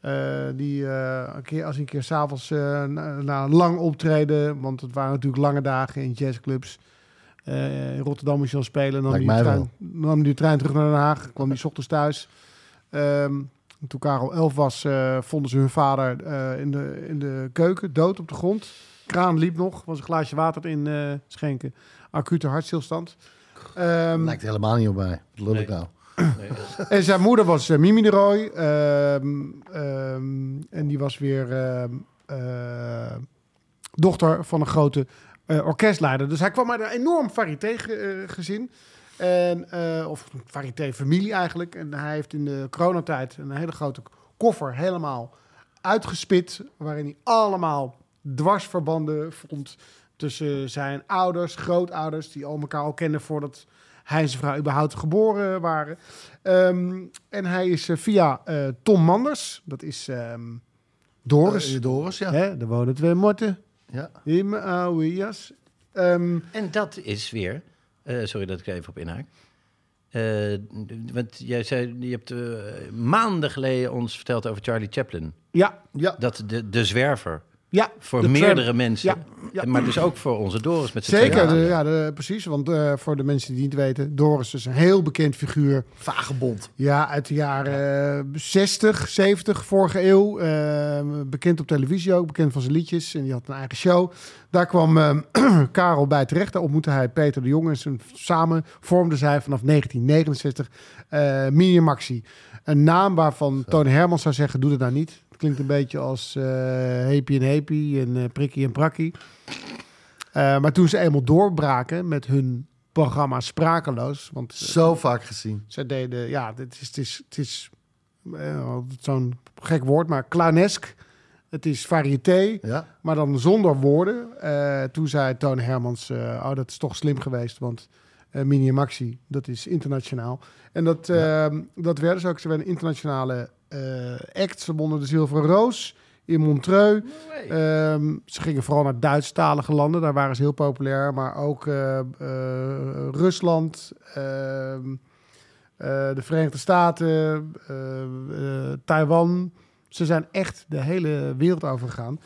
C: Eh, die eh, een keer, als hij een keer s'avonds eh na, na een lang optreden... want het waren natuurlijk lange dagen in jazzclubs... eh, in Rotterdam moest je dan spelen. Dan
D: Lijkt
C: die
D: mij
C: trein, nam die trein terug naar Den Haag. kwam die 's ochtends thuis. Ehm, toen Karel elf was, eh, vonden ze hun vader eh, in, de, in de keuken, dood op de grond. Kraan liep nog, was een glaasje water in eh, schenken. Acute hartstilstand. Ehm,
D: Lijkt helemaal niet op mij. Wat lul ik
B: Nee.
D: nou?
C: en zijn moeder was eh, Mimi de Rooij. Ehm, ehm, en die was weer ehm, eh, dochter van een grote eh, orkestleider. Dus hij kwam uit een enorm variété-gezin. En, eh, of variété-familie eigenlijk. En hij heeft in de coronatijd een hele grote koffer helemaal uitgespit. Waarin hij allemaal dwarsverbanden vond tussen zijn ouders, grootouders... die al elkaar al kenden voordat hij en zijn vrouw überhaupt geboren waren. Ehm, en hij is eh, via eh, Tom Manders, dat is ehm, Doris.
D: Eh, Doris, ja.
C: Hè, daar wonen twee motten
D: ja.
C: in mijn oude jas. Ehm,
B: En dat is weer, eh, sorry dat ik er even op inhaak. Eh, want jij zei, je hebt eh, maanden geleden ons verteld over Charlie Chaplin.
C: ja,
D: Ja,
B: Dat de, de zwerver
C: ja.
B: voor
C: de
B: meerdere
C: tram.
B: mensen,
C: Ja, ja.
B: maar dus ook voor onze Doris met zijn
C: Zeker, de-
B: tweeën.
C: ja, de- precies. Want eh, voor de mensen die het niet weten, Doris is een heel bekend figuur.
D: vagebond.
C: Ja, uit de jaren eh, 60, 70, vorige eeuw. Eh, bekend op televisie ook, bekend van zijn liedjes. En die had een eigen show. Daar kwam eh, Karel bij terecht. Daar ontmoette hij Peter de Jong. En ze- samen vormden zij vanaf 1969 eh Mini en Maxi. Een naam waarvan Toon Hermans zou zeggen, doe dat nou niet. Het klinkt een beetje als eh Hepie en Hepie en eh, Prikkie en Prakkie. Eh, maar toen ze eenmaal doorbraken met hun programma Sprakeloos... want
D: Zo vaak gezien.
C: zij deden, ja, dit is, het is, het is eh, altijd zo'n gek woord, maar clownesk. Het is variété,
D: Ja.
C: maar dan zonder woorden. Eh, toen zei Toon Hermans, eh, oh, dat is toch slim geweest, want eh, Mini en Maxi, dat is internationaal. En dat, ehm, dat werden ze ook. Ze werden internationale eh act. Ze wonnen de Zilveren Roos in Montreux. Ehm, ze gingen vooral naar Duitsstalige landen. Daar waren ze heel populair. Maar ook eh, eh, Rusland, ehm, eh, de Verenigde Staten, eh, eh, Taiwan. Ze zijn echt de hele wereld over gegaan.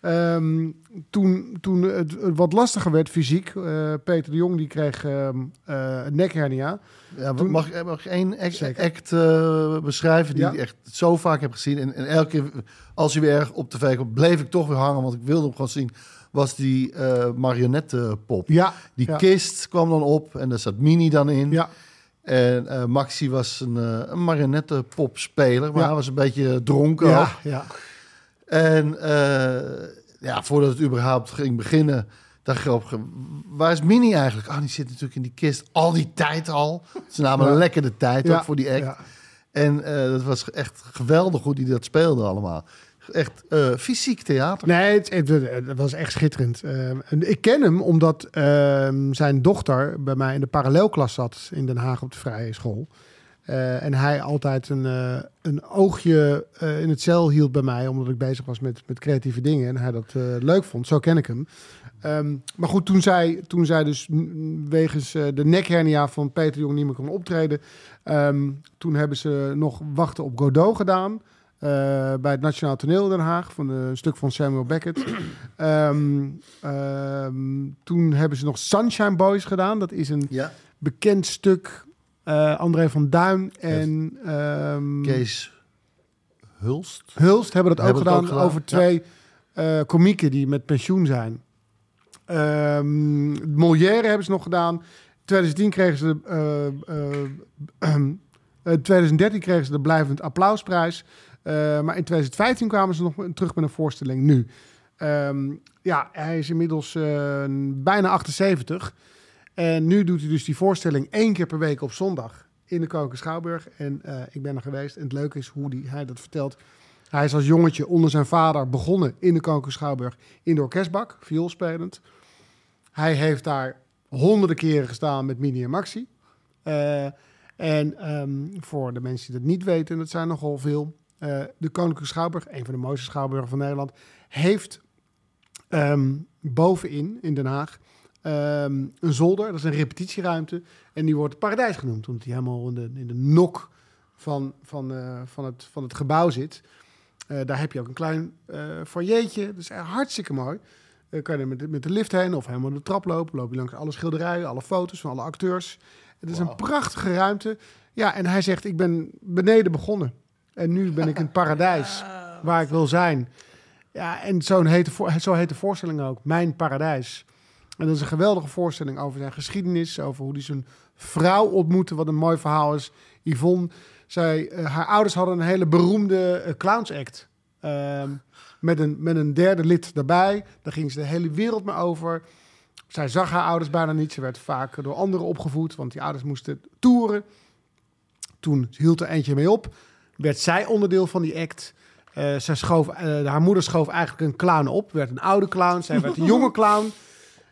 C: Ehm, toen toen het, het wat lastiger werd fysiek, eh, Peter de Jong die kreeg ehm eh, een nekhernia.
D: ja
C: Toen-
D: mag, ik- mag ik één act,
C: Zeker.
D: act, eh, beschrijven die
C: Ja.
D: ik echt zo vaak heb gezien? En, en elke keer als hij weer erg op tv kwam, bleef ik toch weer hangen. Want ik wilde hem gewoon zien. Was die eh marionettenpop.
C: Ja,
D: Die
C: ja,
D: kist kwam dan op en daar zat Mini dan in.
C: Ja,
D: En eh, Maxi was een, eh een marionettenpopspeler, maar
C: Ja.
D: hij was een beetje dronken ook.
C: ja, ja.
D: En eh, ja, voordat het überhaupt ging beginnen, dacht ik op, waar is Minnie eigenlijk? Ah, die zit natuurlijk in die kist al die tijd al. Ze namen
C: Ja.
D: een lekkere tijd
C: Ja,
D: ook voor die act.
C: ja.
D: En eh, dat was echt geweldig hoe die dat speelde allemaal. Echt eh, fysiek theater.
C: Nee, het, het- het- het was echt schitterend. Ehm, en ik ken hem omdat ehm, zijn dochter bij mij in de parallelklas zat in Den Haag op de vrije school. Eh, en hij altijd een, eh, een oogje eh, in het cel hield bij mij, omdat ik bezig was met, met creatieve dingen. En hij dat eh, leuk vond. Zo ken ik hem. Ehm, maar goed, toen zij, toen zij dus mm, wegens eh, de nekhernia van Peter Jong niet meer kon optreden. ehm, toen hebben ze nog wachten op Godot gedaan. eh, bij het Nationaal Toneel in Den Haag. Van de, een stuk van Samuel Beckett. Ehm, ehm, toen hebben ze nog Sunshine Boys gedaan. Dat is een
D: Ja,
C: bekend stuk. eh, André van Duin en ehm,
D: Kees Hulst.
C: Hulst hebben dat ook
D: Hebben het
C: gedaan,
D: ook gedaan,
C: over twee eh komieken die met pensioen zijn. Ehm Molière hebben ze nog gedaan. In 2010 kregen ze de, eh, eh, eh, 2013 kregen ze de Blijvend Applausprijs. Eh, maar in 2015 kwamen ze nog terug met een voorstelling nu. Ehm, ja, hij is inmiddels eh, bijna 78. En nu doet hij dus die voorstelling één keer per week op zondag in de Koninklijke Schouwburg. En eh, ik ben er geweest. En het leuke is hoe die, hij dat vertelt. Hij is als jongetje onder zijn vader begonnen in de Koninklijke Schouwburg in de orkestbak, vioolspelend. Hij heeft daar honderden keren gestaan met Mini en Maxi. Eh, en ehm, voor de mensen die dat niet weten, en dat zijn nogal veel, eh, de Koninklijke Schouwburg, een van de mooiste schouwburgen van Nederland, heeft ehm, bovenin in Den Haag ehm, een zolder, dat is een repetitieruimte. En die wordt Paradijs genoemd, omdat die helemaal in de, in de nok van, van, eh, van, het, van het gebouw zit. Eh, daar heb je ook een klein eh foyertje, dat is echt hartstikke mooi. Eh, kan je er met de, met de lift heen of helemaal de trap lopen. Loop je langs alle schilderijen, alle foto's van alle acteurs. Het is een prachtige ruimte. Ja, en hij zegt, ik ben beneden begonnen. En nu ben ik in het paradijs waar ik wil zijn. Ja, en zo'n hete, voor- zo heet de voorstelling ook, Mijn Paradijs. En dat is een geweldige voorstelling over zijn geschiedenis, over hoe hij zijn vrouw ontmoette, wat een mooi verhaal is. Yvonne, zij, eh, haar ouders hadden een hele beroemde eh, clowns-act. Ehm, met, een, met een derde lid daarbij. Daar ging ze de hele wereld mee over. Zij zag haar ouders bijna niet. Ze werd vaak door anderen opgevoed, want die ouders moesten toeren. Toen hield er eentje mee op. Werd zij onderdeel van die act. Eh, zij schoof, eh, haar moeder schoof eigenlijk een clown op. Werd een oude clown. Zij werd een jonge clown.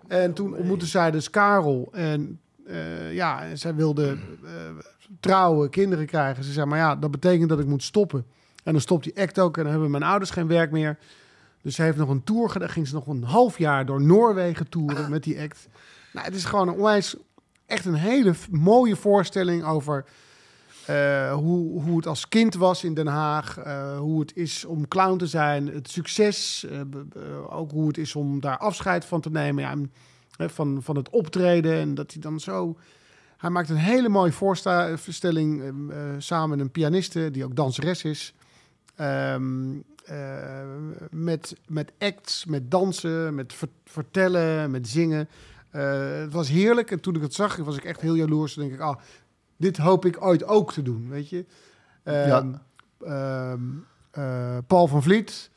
C: En toen ontmoette zij dus Karel. En eh, ja, en zij wilde eh, trouwen, kinderen krijgen. Ze zei, maar ja, dat betekent dat ik moet stoppen. En dan stopt die act ook en dan hebben mijn ouders geen werk meer. Dus ze heeft nog een tour gedaan. Ging ze nog een half jaar door Noorwegen toeren met die act. Nou, het is gewoon een onwijs, echt een hele f- mooie voorstelling over eh, hoe, hoe het als kind was in Den Haag. eh, hoe het is om clown te zijn. Het succes. eh, b- b- eh, ook hoe het is om daar afscheid van te nemen. Ja, en, hè, van, van het optreden. En dat hij dan zo... Hij maakt een hele mooie voorsta- voorstelling eh, eh, samen met een pianiste die ook danseres is. Ehm, eh, met, met acts, met dansen, met ver- vertellen, met zingen. Eh, het was heerlijk. En toen ik het zag, was ik echt heel jaloers. Toen denk ik, ah, dit hoop ik ooit ook te doen, weet je. Ehm,
D: Ja.
C: ehm, eh, Paul van Vliet,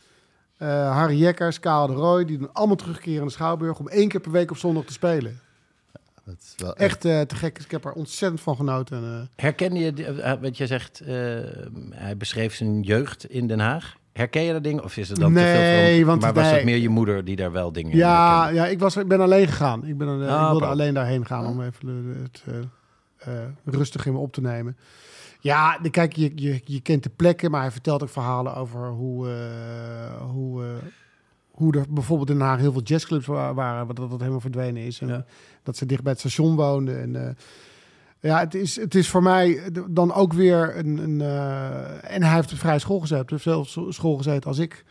C: eh, Harry Jekkers, Karel de Rooij... die doen allemaal terugkeren in de Schouwburg... om één keer per week op zondag te spelen.
D: Dat is wel echt.
C: Echt eh, te gek. Ik heb er ontzettend van genoten. En, eh,
B: Herken je, die- eh, want jij zegt, eh, hij beschreef zijn jeugd in Den Haag. Herken je dat ding? Of is het dan te veel
C: Nee,
B: van,
C: want-
B: Maar was
C: nee.
B: het meer je moeder die daar wel dingen in
C: ja,
B: herkende?
C: ja ik, was, ik ben alleen gegaan. Ik, ben, eh,
B: Ah,
C: ik wilde
B: bro.
C: alleen daarheen gaan om even eh, het eh, eh, rustig in me op te nemen. Ja, de- kijk, je, je, je kent de plekken, maar hij vertelt ook verhalen over hoe, eh, hoe, eh, hoe er bijvoorbeeld in Den Haag heel veel jazzclubs wa- waren, wat dat, dat helemaal verdwenen is. En
B: Ja.
C: dat ze dicht bij het station woonden. En, eh, ja, het is, het is voor mij d- dan ook weer een. een eh, en hij heeft vrij school gezeten, heeft zelf zo- school gezeten als ik.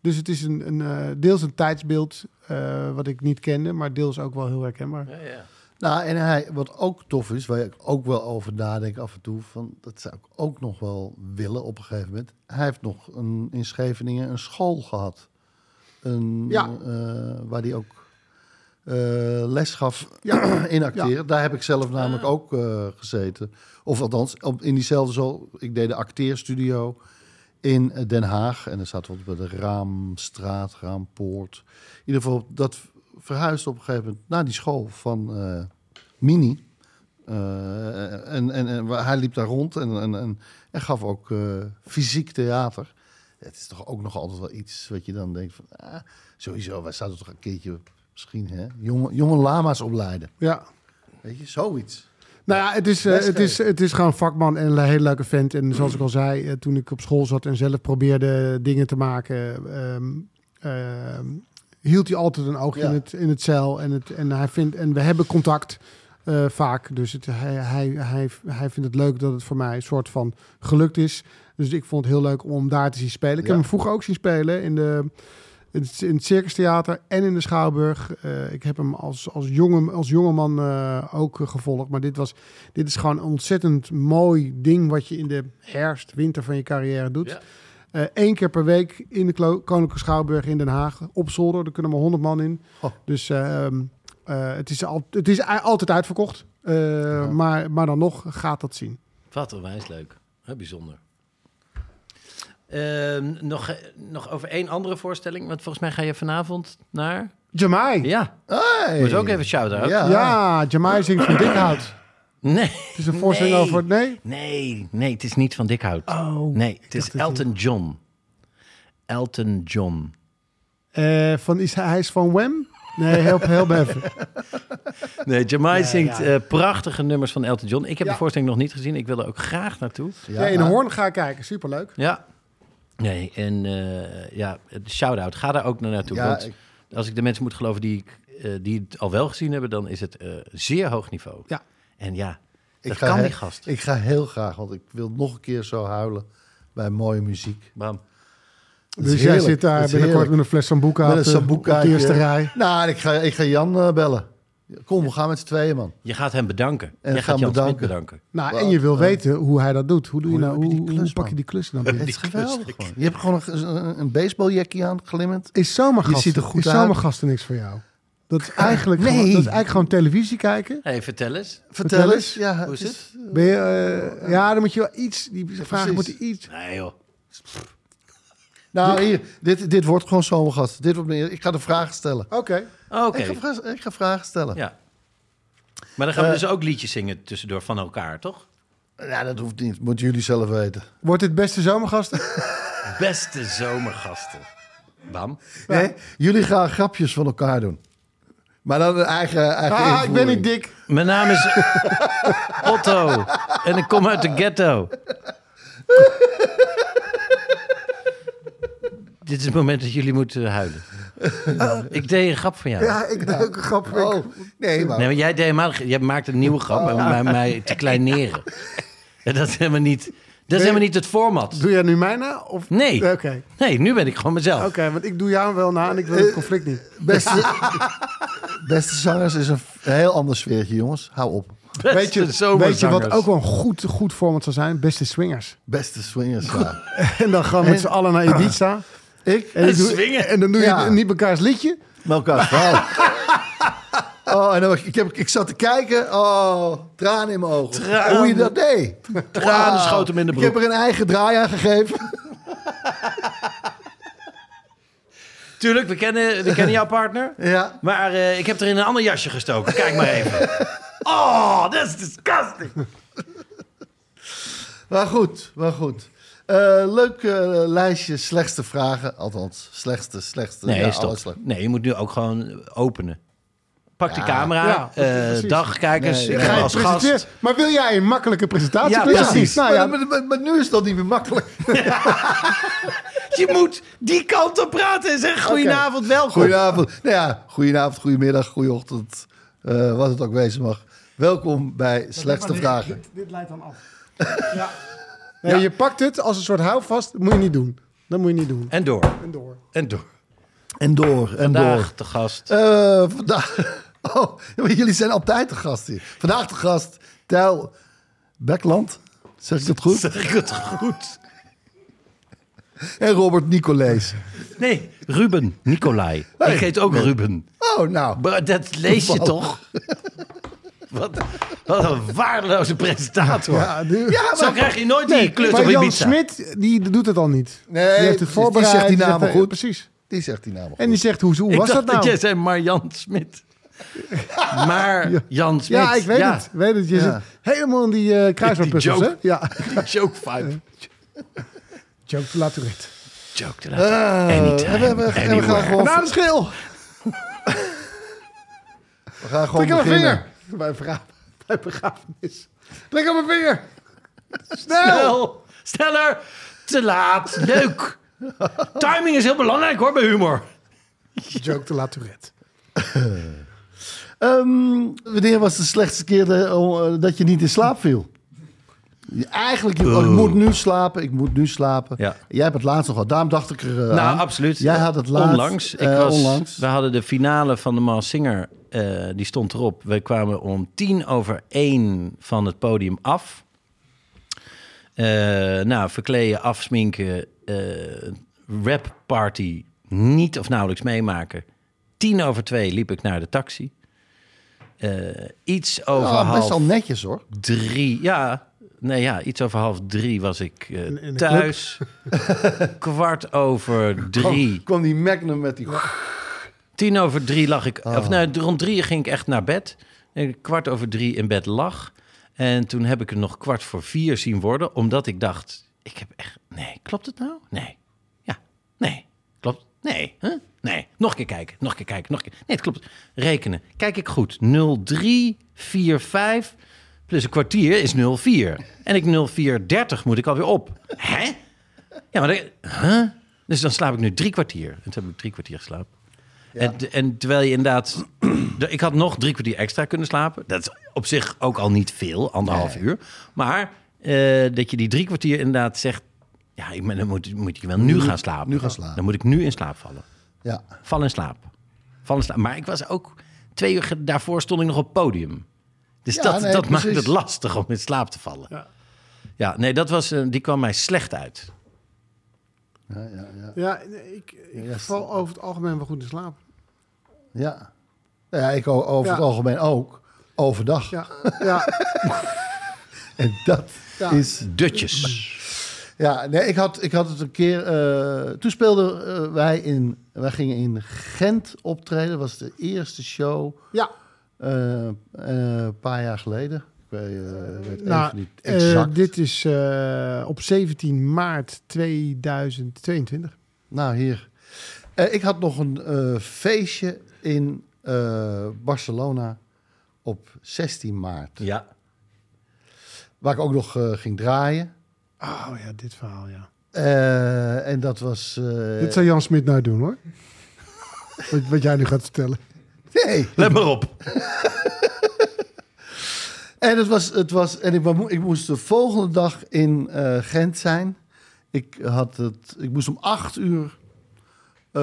C: Dus het is een, een, eh, deels een tijdsbeeld eh, wat ik niet kende, maar deels ook wel heel herkenbaar.
D: Nou, en hij, wat ook tof is, waar ik ook wel over nadenk af en toe, van, dat zou ik ook nog wel willen op een gegeven moment. Hij heeft nog een, in Scheveningen een school gehad. Een,
C: Ja.
D: eh, waar hij ook eh, les gaf in acteren. Daar heb ik zelf namelijk ook eh, gezeten. Of althans, op, in diezelfde school. Ik deed de acteerstudio in eh, Den Haag. En dan zaten we op de Raamstraat, Raampoort. In ieder geval, dat verhuisde op een gegeven moment naar die school van eh, Mini. Eh, en, en, en hij liep daar rond en, en, en, en gaf ook eh, fysiek theater. Het is toch ook nog altijd wel iets wat je dan denkt van... Ah, sowieso, wij zouden toch een keertje misschien hè, jonge, jonge lama's opleiden.
C: Ja.
D: Weet je, zoiets.
C: Nou ja, het is, eh, het, is, het is gewoon vakman en een hele leuke vent. En zoals ik al zei, eh, toen ik op school zat en zelf probeerde dingen te maken, ehm, ehm, hield hij altijd een oogje
D: Ja.
C: in, het, in het cel. En, het, en, hij vindt, en we hebben contact eh, vaak. Dus het, hij, hij, hij, hij vindt het leuk dat het voor mij een soort van gelukt is. Dus ik vond het heel leuk om hem daar te zien spelen. Ik
D: Ja.
C: heb hem vroeger ook zien spelen in de in het, in het Circus Theater en in de Schouwburg. Eh, ik heb hem als, als, jonge, als jongeman eh, ook eh, gevolgd. Maar dit, was, dit is gewoon een ontzettend mooi ding wat je in de herfst, winter van je carrière doet. Eh, Eén keer per week in de Klo- Koninklijke Schouwburg in Den Haag. Op zolder, er kunnen maar 100 man in.
D: Oh.
C: Dus ehm, eh, het is, al, het is i- altijd uitverkocht. Eh, maar, maar dan nog gaat dat zien.
B: Wat onwijs leuk. Hè, bijzonder. Ehm, nog, eh, nog over één andere voorstelling. Want volgens mij ga je vanavond naar...
C: Jamai. Ja,
B: Ja,
D: Hey.
B: dat is ook even shout-out.
D: Ja.
C: Jamai zingt van Dikhout.
B: Nee.
C: Het is een voorstelling
B: Nee.
C: over... Nee?
B: Nee, nee, het is niet van Dikhout.
C: Oh,
B: nee, het is
C: dacht dat je-
B: Elton John. Elton John.
C: Eh, van, is hij, hij is van Wem? Nee, help, help even.
B: Nee, Jamai zingt eh, prachtige nummers van Elton John. Ik heb de voorstelling nog niet gezien. Ik wil er ook graag naartoe.
C: Ja, in
D: nou.
C: Hoorn ga ik kijken. Superleuk.
B: Ja. Nee, en eh ja, shout-out. Ga daar ook naar naartoe.
D: Ja,
B: want
D: ik-
B: als ik de mensen moet geloven die, ik, eh, die het al wel gezien hebben, dan is het eh, zeer hoog niveau.
C: Ja.
B: En ja, dat
D: Ik
B: kan
D: he-
B: die gast.
D: Ik ga heel graag, want ik wil nog een keer zo huilen bij mooie muziek.
B: Bam.
D: Dat is
C: Dus jij
D: heerlijk.
C: zit daar
D: Dat is
C: binnenkort
D: heerlijk.
C: met een fles Sambuca
D: Met
C: op de-
D: een sambuca.
C: op de eerste rij.
D: Nou, ik ga, ik ga Jan eh, bellen. Kom, we gaan met z'n tweeën, man.
B: Je gaat hem bedanken.
D: En
B: Je
D: gaan
B: gaat Jan Smit
D: bedanken.
B: bedanken.
C: Nou, en je wil weten hoe hij dat doet. Hoe, doe je
D: Hoe
C: nou,
D: heb je
C: hoe,
D: die
C: hoe
D: klus,
C: pak je
D: man?
C: die klus dan binnen?
D: Het is geweldig, man. Je hebt gewoon een, een baseballjakje aan, glimmend.
C: Is zomergasten,
D: Je ziet er goed
C: is
D: uit.
C: zomergasten niks voor jou? Dat is eigenlijk,
D: Nee.
C: gewoon, dat is eigenlijk gewoon televisie kijken.
B: Hey, vertel eens.
D: Vertel,
C: Vertel
D: eens.
C: eens.
D: Ja,
B: Hoe is
D: is-
C: Ben je, eh, ja, dan moet je wel iets. Die vragen
D: precies.
C: moeten iets.
B: Nee joh.
D: Nou, hier, dit, dit wordt gewoon zomergast. Dit wordt meer. Ik ga de vragen stellen.
C: Oh, Oké.
B: Oké.
D: Ik, ga, vra- ik ga vragen Eh. stellen. Ja.
B: Ja. Maar dan gaan we dus ook liedjes zingen tussendoor van elkaar, toch?
D: dat hoeft niet. Moeten jullie zelf weten.
C: Wordt dit beste zomergasten?
D: Ah.
B: Beste zomergasten. Bam.
D: Nee, jullie gaan grapjes van elkaar doen. Maar dan een eigen, eigen
C: ah, ik ben
D: invoering.
C: niet dik.
B: Mijn naam is Otto en ik kom uit de ghetto. Dit is het moment dat jullie moeten huilen. ik deed een grap van jou.
C: Ja, ik ben ook een grap.
D: Oh, nee, maar...
B: Nee, maar jij deed helemaal, jij maakte een nieuwe grap om mij, mij te kleineren. En dat is helemaal niet, dat is helemaal niet het format.
C: Doe jij nu mij na? Of?
B: Nee.
C: Oké.
B: Nee, nu ben ik gewoon mezelf.
C: Oké, want ik doe jou wel na en ik wil het conflict niet.
D: Beste, beste zangers is een f- heel ander sfeertje, jongens. Hou op.
C: Weet je, weet je
B: zomerzangers.
C: wat ook wel een goed, goed format zou zijn? Beste swingers.
D: Beste swingers. ja.
C: En dan gaan we met z'n allen naar Ibiza.
D: Ik
C: En, dan doe-
B: swingen.
C: en dan doe je
D: Ja.
C: niet mekaars liedje.
D: met elkaar verhaal. Oh, en dan, ik, heb, ik zat te kijken. Oh, tranen in mijn ogen.
B: Tranen.
D: Hoe je dat deed.
B: Tranen schoten hem in de
D: Ik heb
B: broek.
D: er een eigen draai aan gegeven.
B: Tuurlijk, we kennen, we kennen jouw partner.
D: Ja.
B: Maar eh, ik heb er in een ander jasje gestoken. Kijk maar even. Oh, dat is disgusting.
D: Maar goed, maar goed. Eh, leuk eh, lijstje slechtste vragen. Althans, slechtste, slechtste.
B: Nee,
D: ja, alles
B: stop.
D: slecht.
B: Nee, je moet nu ook gewoon openen. Pak de
D: Ja.
B: camera.
C: Ja,
B: eh,
C: precies.
B: dag, kijkers.
D: Nee,
B: ik
D: nee.
B: ga
D: Ga je
B: als
C: Presenteer.
B: gast.
C: Maar wil jij een makkelijke presentatie?
B: Ja,
C: Wil je dat
B: precies.
C: niet? Nou ja,
D: maar, maar- maar nu is dat niet meer makkelijk.
B: Je moet die kant op praten en zeggen goedenavond, welkom.
D: Goedenavond. Nou ja, goedenavond, goedemiddag, goeieochtend. eh, wat het ook wezen mag. Welkom bij Slechtste Vragen.
C: leidt dan af. Ja. Nee, Je pakt het als een soort houvast. Dat moet je niet doen. Dat moet je niet doen.
B: En door.
C: En door.
B: En door.
D: En door, en
B: Vandaag de gast.
D: door. Eh, vandaag. Oh, ja, maar jullie zijn altijd de gast hier. Vandaag de gast, Tijl Bekland. Zeg ik dat goed?
B: Zeg ik het goed?
D: En Robert Nicolees.
B: Nee, Ruben Nicolai.
D: Hey.
B: Ik heet ook Ruben.
D: Oh, nou.
B: Maar dat lees je toch? Wat, wat een waardeloze presentator.
C: Ja, die-
B: Zo krijg je nooit die klus op
C: maar Jan
B: Ibiza.
C: Smit, die doet het al niet.
D: Nee,
C: die
D: precies.
C: heeft het
D: Eh, Die
C: voorbereid.
D: zegt die namen
C: eh,
D: goed.
C: Precies.
D: Die zegt die naam.
C: En die zegt, hoe, hoe
B: Ik
C: was
B: dacht
C: dat nou?
B: jij zei Marjan Smit. Maar Jan Smit.
C: ja, ik weet het. Ik weet het. Je
D: Ja.
C: zit helemaal in die eh kruiswoordpuzzels,
B: Die
C: hè?
B: joke.
C: Ja.
B: Die joke vibe.
C: Joke La Tourette.
B: Joke te laten.
C: Eh,
B: Anytime,
D: we, hebben- en we gaan
B: anywhere.
D: gewoon,
C: Nou, de schil.
D: we gaan gewoon
C: Trek aan mijn
D: beginnen.
C: vinger. Bij, begra- bij begrafenis. Trek aan mijn vinger. Snel.
B: Snel. Nou, Sneller. Te laat. Leuk. Timing is heel belangrijk hoor bij humor.
C: Joke de La Tourette.
D: Ehm, wanneer was de slechtste keer eh, om, eh, dat je niet in slaap viel? Je- Eigenlijk, je, oh, ik moet nu slapen, ik moet nu slapen.
B: Ja.
D: Jij hebt het laatst nog gehad, daarom dacht ik er eh,
B: Nou,
D: aan.
B: absoluut.
D: Jij had het laatst.
B: Onlangs. Ik
D: eh,
B: was,
D: onlangs.
B: We hadden de finale van de Maal Singer. eh, die stond erop. We kwamen om tien over één van het podium af. Eh, Eh, nou, verkleden, afsminken, eh rap party niet of nauwelijks meemaken. Tien over twee liep ik naar de taxi. Eh, iets over
D: Ah, best
B: half
D: wel netjes hoor.
B: drie. Ja, nee, ja, iets over half drie was ik eh,
C: in de
B: thuis. Kwart over drie.
D: Kwam, kwam die Magnum met die...
B: Tien over drie lag ik. Of nou, rond drie ging ik echt naar bed. En kwart over drie in bed lag. En toen heb ik er nog kwart voor vier zien worden. Omdat ik dacht: ik heb echt. Nee, klopt het nou? Nee. Ja. Nee. Klopt. Nee. Huh? Nee. Nog een keer kijken. Nog een keer kijken. Nog een keer. Nee, het klopt. Rekenen. Kijk ik goed. 0345 plus een kwartier is 04. En ik 0430 moet ik alweer op. Hè? Ja, maar. dan- Huh? Dus dan slaap ik nu drie kwartier. En toen heb ik drie kwartier geslapen. En, en terwijl je inderdaad... ik had nog drie kwartier extra kunnen slapen. Dat is op zich ook al niet veel, anderhalf uur. Maar eh, dat je die drie kwartier inderdaad zegt... Ja, ik ben- dan moet, moet je wel nu, gaan slapen.
D: nu gaan slapen.
B: Dan moet ik nu in slaap vallen.
D: Ja.
B: Val in slaap. Val in slaap. Maar ik was ook... Twee uur ge- daarvoor stond ik nog op het podium. Dus
D: Ja,
B: dat,
D: nee,
B: dat maakt
D: precies.
B: het lastig om in slaap te vallen. Ja, nee, dat was, eh, die kwam mij slecht uit.
D: Ja, ja, ja.
C: Ja, ik, ik
D: Ja,
C: val over het algemeen wel goed in slaap.
D: ja. Nou ja ik o- over
C: Ja.
D: het algemeen ook. Overdag.
C: Ja, ja.
D: En dat
C: Ja.
D: is...
B: Dutjes.
D: Ja, nee, ik had, ik had het een keer... eh, toen speelden eh, wij in... Wij gingen in Gent optreden. Dat was de eerste show
C: ja.
D: eh, eh, een paar jaar geleden. Ik weet, eh, ik weet
C: Nou,
D: even niet
C: eh,
D: exact.
C: dit is eh, op 17 maart 2022.
D: Nou, hier. Eh, ik had nog een eh, feestje in eh, Barcelona op 16 maart.
B: Ja.
D: Waar ik ook nog eh, ging draaien.
C: Oh ja, dit verhaal, ja.
D: Eh, en dat was... eh,
C: Dit zou Jan Smit nou doen, hoor. wat, wat jij nu gaat vertellen.
D: Nee.
B: Let maar op.
D: En, het was, het was, en ik, mo- ik moest de volgende dag in eh, Gent zijn. Ik, had het, ik moest om acht uur... eh,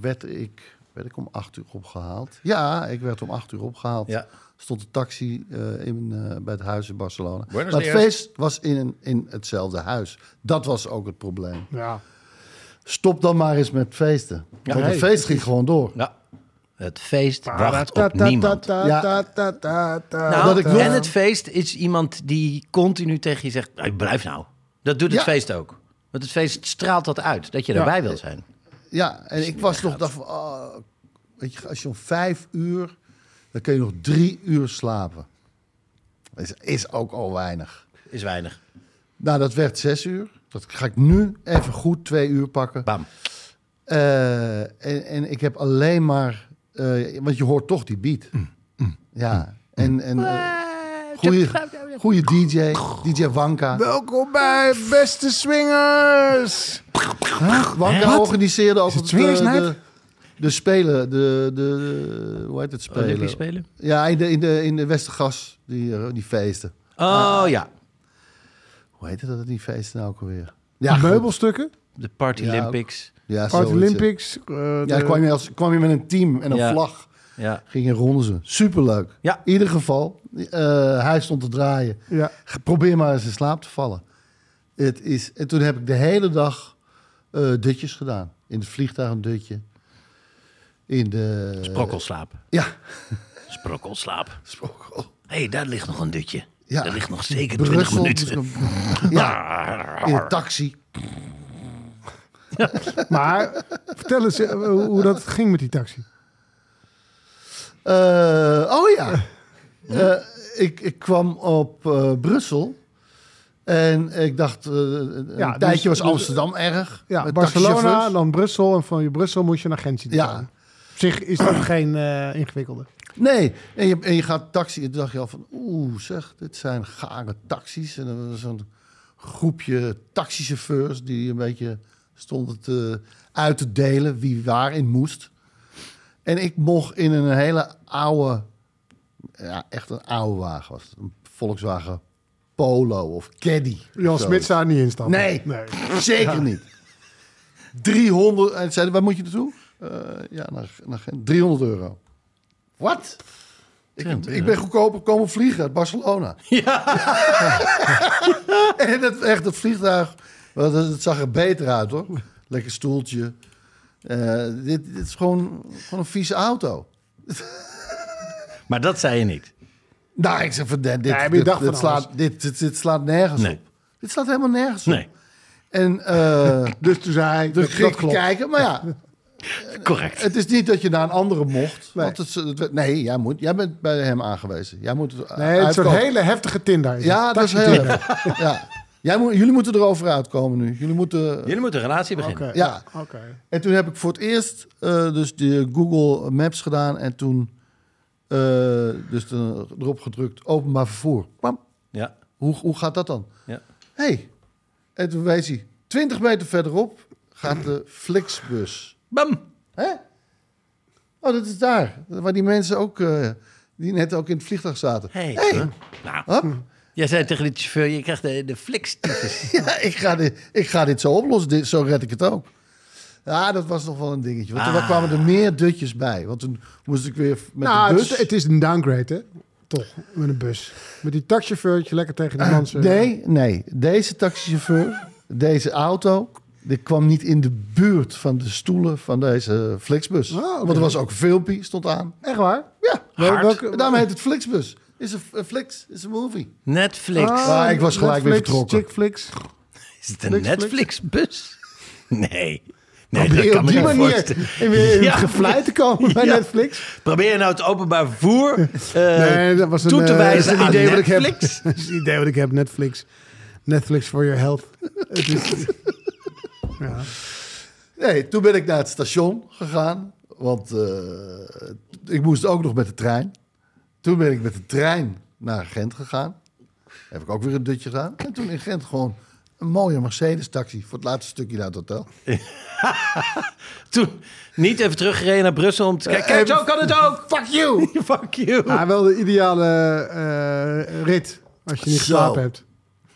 D: werd, ik, werd ik om acht uur opgehaald? Ja, ik werd om acht uur opgehaald.
B: Ja.
D: Stond de taxi eh, in, eh, bij het huis in Barcelona.
B: Buenos
D: maar het
B: Aires.
D: feest was in, een- in hetzelfde huis. Dat was ook het probleem.
C: Ja.
D: Stop dan maar eens met feesten. Want
C: nee,
D: het feest ging gewoon door.
B: Ja. Het feest
D: Ah,
B: wacht
C: Ta-
B: op
C: ta- ta-
B: niemand.
C: ta-
D: Ja.
C: ta- ta- ta- ta-
B: Nou,
D: Omdat ik nog-
B: en het feest is iemand die continu tegen je zegt: "Hey, blijf nou. Dat doet het
D: Ja.
B: feest ook. Want het feest straalt dat uit, dat je erbij wil zijn.
D: Ja, en ik was nog dacht van, ah, weet je, als je om vijf uur, dan kun je nog drie uur slapen. Is, is ook al weinig.
B: Is weinig.
D: Nou, dat werd zes uur. Dat ga ik nu even goed twee uur pakken.
B: Bam.
D: Eh, en, en ik heb alleen maar, eh, want je hoort toch die beat.
C: Mm,
D: Ja, en, en eh, goeie, goeie DJ, DJ Wanka.
C: Welkom bij Beste Swingers!
D: Wanka
C: Wat?
D: organiseerde ook
C: Is het
D: het,
C: Swingers
D: eh,
C: Night?
D: de, de spelen, de, de, hoe heet
C: Oh,
D: het spelen?
B: Olympisch spelen?
D: Ja, in de, in de, in de Westergas, die, eh, die feesten.
B: Oh ja.
D: Hoe heet dat, die feesten nou ook alweer? Ja, goed.
C: Meubelstukken,
B: De Party
D: Ja,
B: Olympics.
D: Ja,
C: Party
D: zoiets, ja.
C: Olympics. eh,
D: Ja,
C: de-
D: dan kwam je, als, kwam je met een team en een
B: Ja.
D: vlag.
B: Ja.
D: Gingen ronden ze. Superleuk.
B: Ja.
D: In ieder geval, eh, hij stond te draaien.
C: Ja.
D: Probeer maar eens in slaap te vallen. Het is, en toen heb ik de hele dag eh, dutjes gedaan. In het vliegtuig een dutje. In de...
B: Sprokkelslaap.
D: Ja,
B: Sprokkelslaap.
D: sprokkel.
B: Hé, hey, daar ligt nog een dutje.
D: Ja.
B: Daar ligt nog zeker 20
D: Brussel.
B: minuten.
D: Ja, in een taxi.
C: Maar vertel eens eh, hoe hoe dat ging met die taxi.
D: Eh, oh ja. Eh, ik, ik kwam op eh, Brussel. En ik dacht, eh, een
C: Ja, dus-
D: tijdje was
C: dus-
D: Amsterdam erg.
C: Ja,
D: met
C: Barcelona,
D: taxichauffeurs.
C: dan Brussel. En van je Brussel moest je naar Gent zien te
D: Ja.
C: gaan. Op zich is dat geen eh, ingewikkelde.
D: Nee, en je, en je gaat taxi. En toen dacht je al van, oeh zeg, dit zijn gare taxis. En dan was er zo'n groepje taxichauffeurs die een beetje stonden te, uit te delen wie waarin moest. En ik mocht in een hele oude, ja, echt een oude wagen was het. Een Volkswagen Polo of Caddy.
C: Jan
D: Of zo.
C: Smit zou er niet instappen.
D: Nee. Zeker niet. 300, en Eh, zeiden, waar moet je naartoe? Eh, ja, naar, naar Gent. 300 euro. Wat? Ik, ik ben goedkoper komen vliegen uit Barcelona. Ja. en het, echt, het vliegtuig, want het, het zag er beter uit hoor. Lekker stoeltje. Eh, dit, dit is gewoon, gewoon een vieze auto.
B: Maar dat zei je niet.
D: Nou, ik zeg van, dit, dit,
C: Nee, maar je
D: dit,
C: dacht
D: dit
C: van
D: slaat, dit, dit, dit slaat nergens
B: Nee.
D: op. Dit slaat helemaal nergens
B: Nee,
D: op. En eh,
C: Dus toen zei hij,
D: dus
C: dat, dat
D: ging ik
C: klopt.
D: kijken, maar ja,
B: correct.
D: het is niet dat je naar een andere mocht. Nee,
C: Nee.
D: want het, het, werd- nee jij, moet, jij bent bij hem aangewezen. Jij moet het
C: Nee, het is een
D: uitkopen.
C: hele heftige Tinder. is
D: Ja,
C: het.
D: dat is heel
C: Taxi-Tinder.
D: erg. Ja. Jij moet, jullie moeten erover uitkomen nu. Jullie moeten...
B: Jullie moeten een relatie beginnen.
C: Oké,
D: Ja.
C: ja, oké.
D: En toen heb ik voor het eerst eh, dus de Google Maps gedaan. En toen eh, dus de- erop gedrukt, openbaar vervoer. Pam.
B: Ja.
D: Hoe, hoe gaat dat dan?
B: ja.
D: Hé. Hey. En toen wees hij 20 meter verderop gaat de Flixbus.
B: Bam!
D: Hè? Oh, dat is daar. Waar die mensen ook, eh, die net ook in het vliegtuig zaten.
B: Hey.
D: Hey.
B: Nou,
C: Hm.
D: Hop.
B: jij zei tegen die chauffeur, je krijgt de, de flikstyfus.
D: Ja, ik ga dit, ik ga dit zo oplossen. Dit, zo red ik het ook. Ja, dat was nog wel een dingetje. Want toen
B: Ah.
D: kwamen er meer dutjes bij. Want toen moest ik weer met
C: Nou,
D: de
C: het
D: bus.
C: is, het is een downgrade, hè? Toch, met een bus. Met die taxichauffeurtje lekker tegen die man. zeuren.
D: nee, nee. Deze taxichauffeur, deze auto... Dit kwam niet in de buurt van de stoelen van deze Flixbus.
C: Oh, oké.
D: Want er was ook een filmpje, stond aan.
C: Echt waar?
D: Ja,
B: Hard.
D: En daarom heet het Flixbus. Is een een Flix, is een movie.
B: Netflix.
C: Oh.
D: Ah, ik was gelijk weer vertrokken.
C: Chickflix.
B: Is het een Netflix-bus? Nee. Nee, dat
C: Probeer
B: kan
C: op
B: me
C: die
B: niet
C: manier
B: voorstellen.
C: in weer in
B: Ja.
C: het gevlei te komen bij
B: Ja.
C: Netflix.
B: Probeer je nou het openbaar vervoer eh,
C: Nee, dat was een,
B: toe te
C: eh,
B: wijzen
C: dat is
B: aan
C: een idee wat ik heb.
B: Netflix?
C: Dat is het idee wat ik heb, Netflix. Netflix for your health. Het is,
D: Nee, toen ben ik naar het station gegaan. Want eh, ik moest ook nog met de trein. Toen ben ik met de trein naar Gent gegaan. Heb ik ook weer een dutje gedaan. En toen in Gent gewoon een mooie Mercedes-taxi voor het laatste stukje naar het hotel.
B: Toen niet even teruggereden naar Brussel om te
C: Eh,
B: kijken. Kijk, zo kan het ook!
D: Fuck you!
B: Fuck you!
C: maar Nou, wel de ideale eh, rit als je niet
D: Zo.
C: geslapen hebt.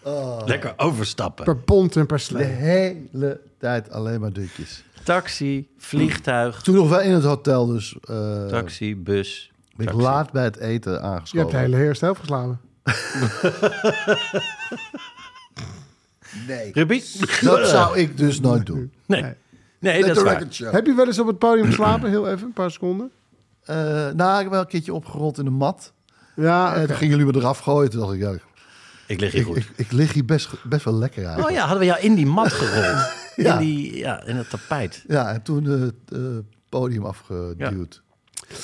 C: Oh.
B: Lekker overstappen.
C: Per pond en per
D: De
C: slee.
D: hele tijd alleen maar dutjes.
B: Taxi,
C: Oh.
B: vliegtuig,
D: Toen nog wel in het hotel dus. eh,
B: taxi, bus.
D: ben ik
B: taxi.
D: laat bij het eten
C: Je hebt de
D: aangeschoven.
C: hele eerste helft geslapen.
D: Nee.
B: Ruby?
D: Dat zou ik dus nooit doen.
B: Nee.
D: Let
B: Nee, dat
D: the
B: is waar.
D: record show.
C: Heb je wel eens op het podium geslapen? Heel even, een paar seconden.
D: Eh, nou, ik heb wel een keertje opgerold in de mat.
C: Ja,
D: En
C: oké.
D: toen gingen jullie me eraf gooien. Toen dacht ik, ja,
B: Ik lig hier
D: Ik,
B: goed.
D: ik, ik lig hier best, best wel lekker
B: Oh
D: eigenlijk.
B: ja, hadden we jou in die mat gerold.
D: Ja.
B: In, die, ja, in het tapijt.
D: ja. en toen eh, het eh, podium afgeduwd.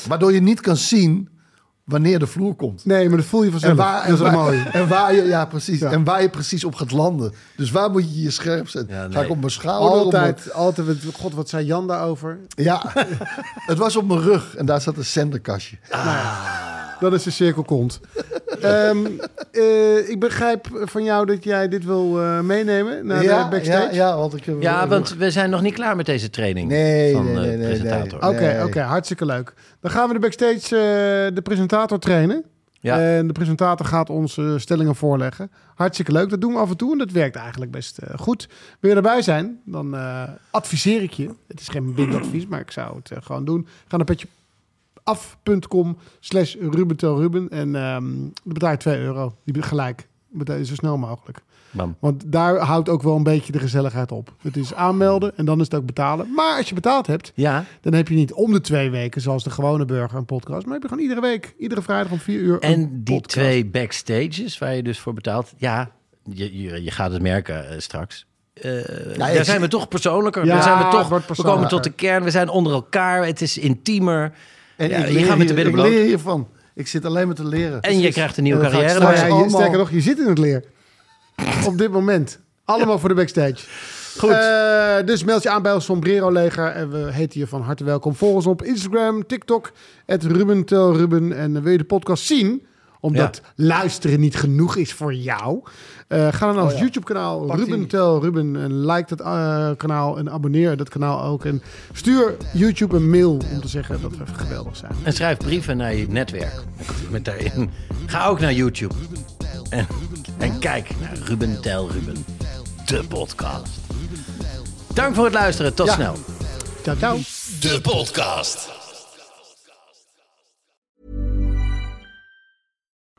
D: Waardoor je niet kan zien wanneer de vloer komt.
C: Nee, maar dat voel je vanzelf.
D: En waar,
C: dat
D: en,
C: is wel
D: waar-
C: mooi.
D: en waar je, ja, precies.
C: Ja.
D: En waar je precies op gaat landen. Dus waar moet je je scherp zetten?
B: Ja, nee.
D: Ga ik op mijn schouder? op
C: Altijd, altijd. met- God, wat zei Jan daarover?
D: mijn- ja, het was op mijn rug en daar zat een zenderkastje.
C: Dat is de cirkel komt. Ehm, eh, ik begrijp van jou dat jij dit wil eh, meenemen naar de
D: ja,
C: backstage.
D: ja, ja, want ik heb-
B: Ja, want we zijn nog niet klaar met deze training
D: Nee,
B: van
D: nee,
B: eh,
D: nee, nee, nee.
B: presentator.
C: Oké,
D: Nee.
C: oké, hartstikke leuk. Dan gaan we de backstage eh, de presentator trainen.
B: Ja.
C: En de presentator gaat ons eh, stellingen voorleggen. Hartstikke leuk. Dat doen we af en toe en dat werkt eigenlijk best eh, goed. Wil je erbij zijn? Dan eh, adviseer ik je. Het is geen blind advies, maar ik zou het eh, gewoon doen. Ga naar petjeaf.com slash rubentelruben. En ehm dan betaal je 2 euro. Die be- gelijk. Betaal je zo snel mogelijk.
B: Bam.
C: Want daar houdt ook wel een beetje de gezelligheid op. Het is aanmelden en dan is het ook betalen. Maar als je betaald hebt,
B: Ja,
C: dan heb je niet om de twee weken, zoals de gewone burger, een podcast. Maar heb je gewoon iedere week, iedere vrijdag om vier uur.
B: en
C: een
B: die
C: podcast.
B: twee backstages waar je dus voor betaalt. Ja, je, je, je gaat het merken eh, straks. Eh, daar
D: Nou, ik-
B: zijn we toch persoonlijker.
C: Ja,
B: daar zijn we,
C: het
B: toch,
C: wordt
B: we komen tot de
C: persoonlijker.
B: kern. We zijn onder elkaar. Het is intiemer.
D: En
B: Ja,
D: ik
B: je
D: leer
B: gaat met de
D: hier-
B: billen
D: Ik leer
B: bloot.
D: hiervan. Ik zit alleen maar te leren.
B: En je krijgt een nieuwe
D: En dan ga ik
B: carrière. Dus
D: straks
C: Nou ja, je-
D: allemaal-
C: sterker nog, je zit in het leer. Op dit moment. Allemaal voor de backstage. Goed.
D: Eh,
C: dus meld je aan bij ons Sombrero Leger. En we heten je van harte welkom. Volg ons op Instagram, TikTok, het Ruben Tel Ruben. En eh, wil je de podcast zien? Omdat luisteren niet genoeg is voor jou. eh, ga dan naar ons YouTube-kanaal, Ruben Tel Ruben. En like dat eh, kanaal en abonneer dat kanaal ook. En stuur YouTube een mail om te zeggen dat we even geweldig zijn.
B: En schrijf brieven naar je netwerk. Met daarin. Ga ook naar YouTube. En, en kijk naar Ruben Tel Ruben. De podcast. Dank voor het luisteren. Tot snel.
C: Ciao, ciao.
F: De podcast.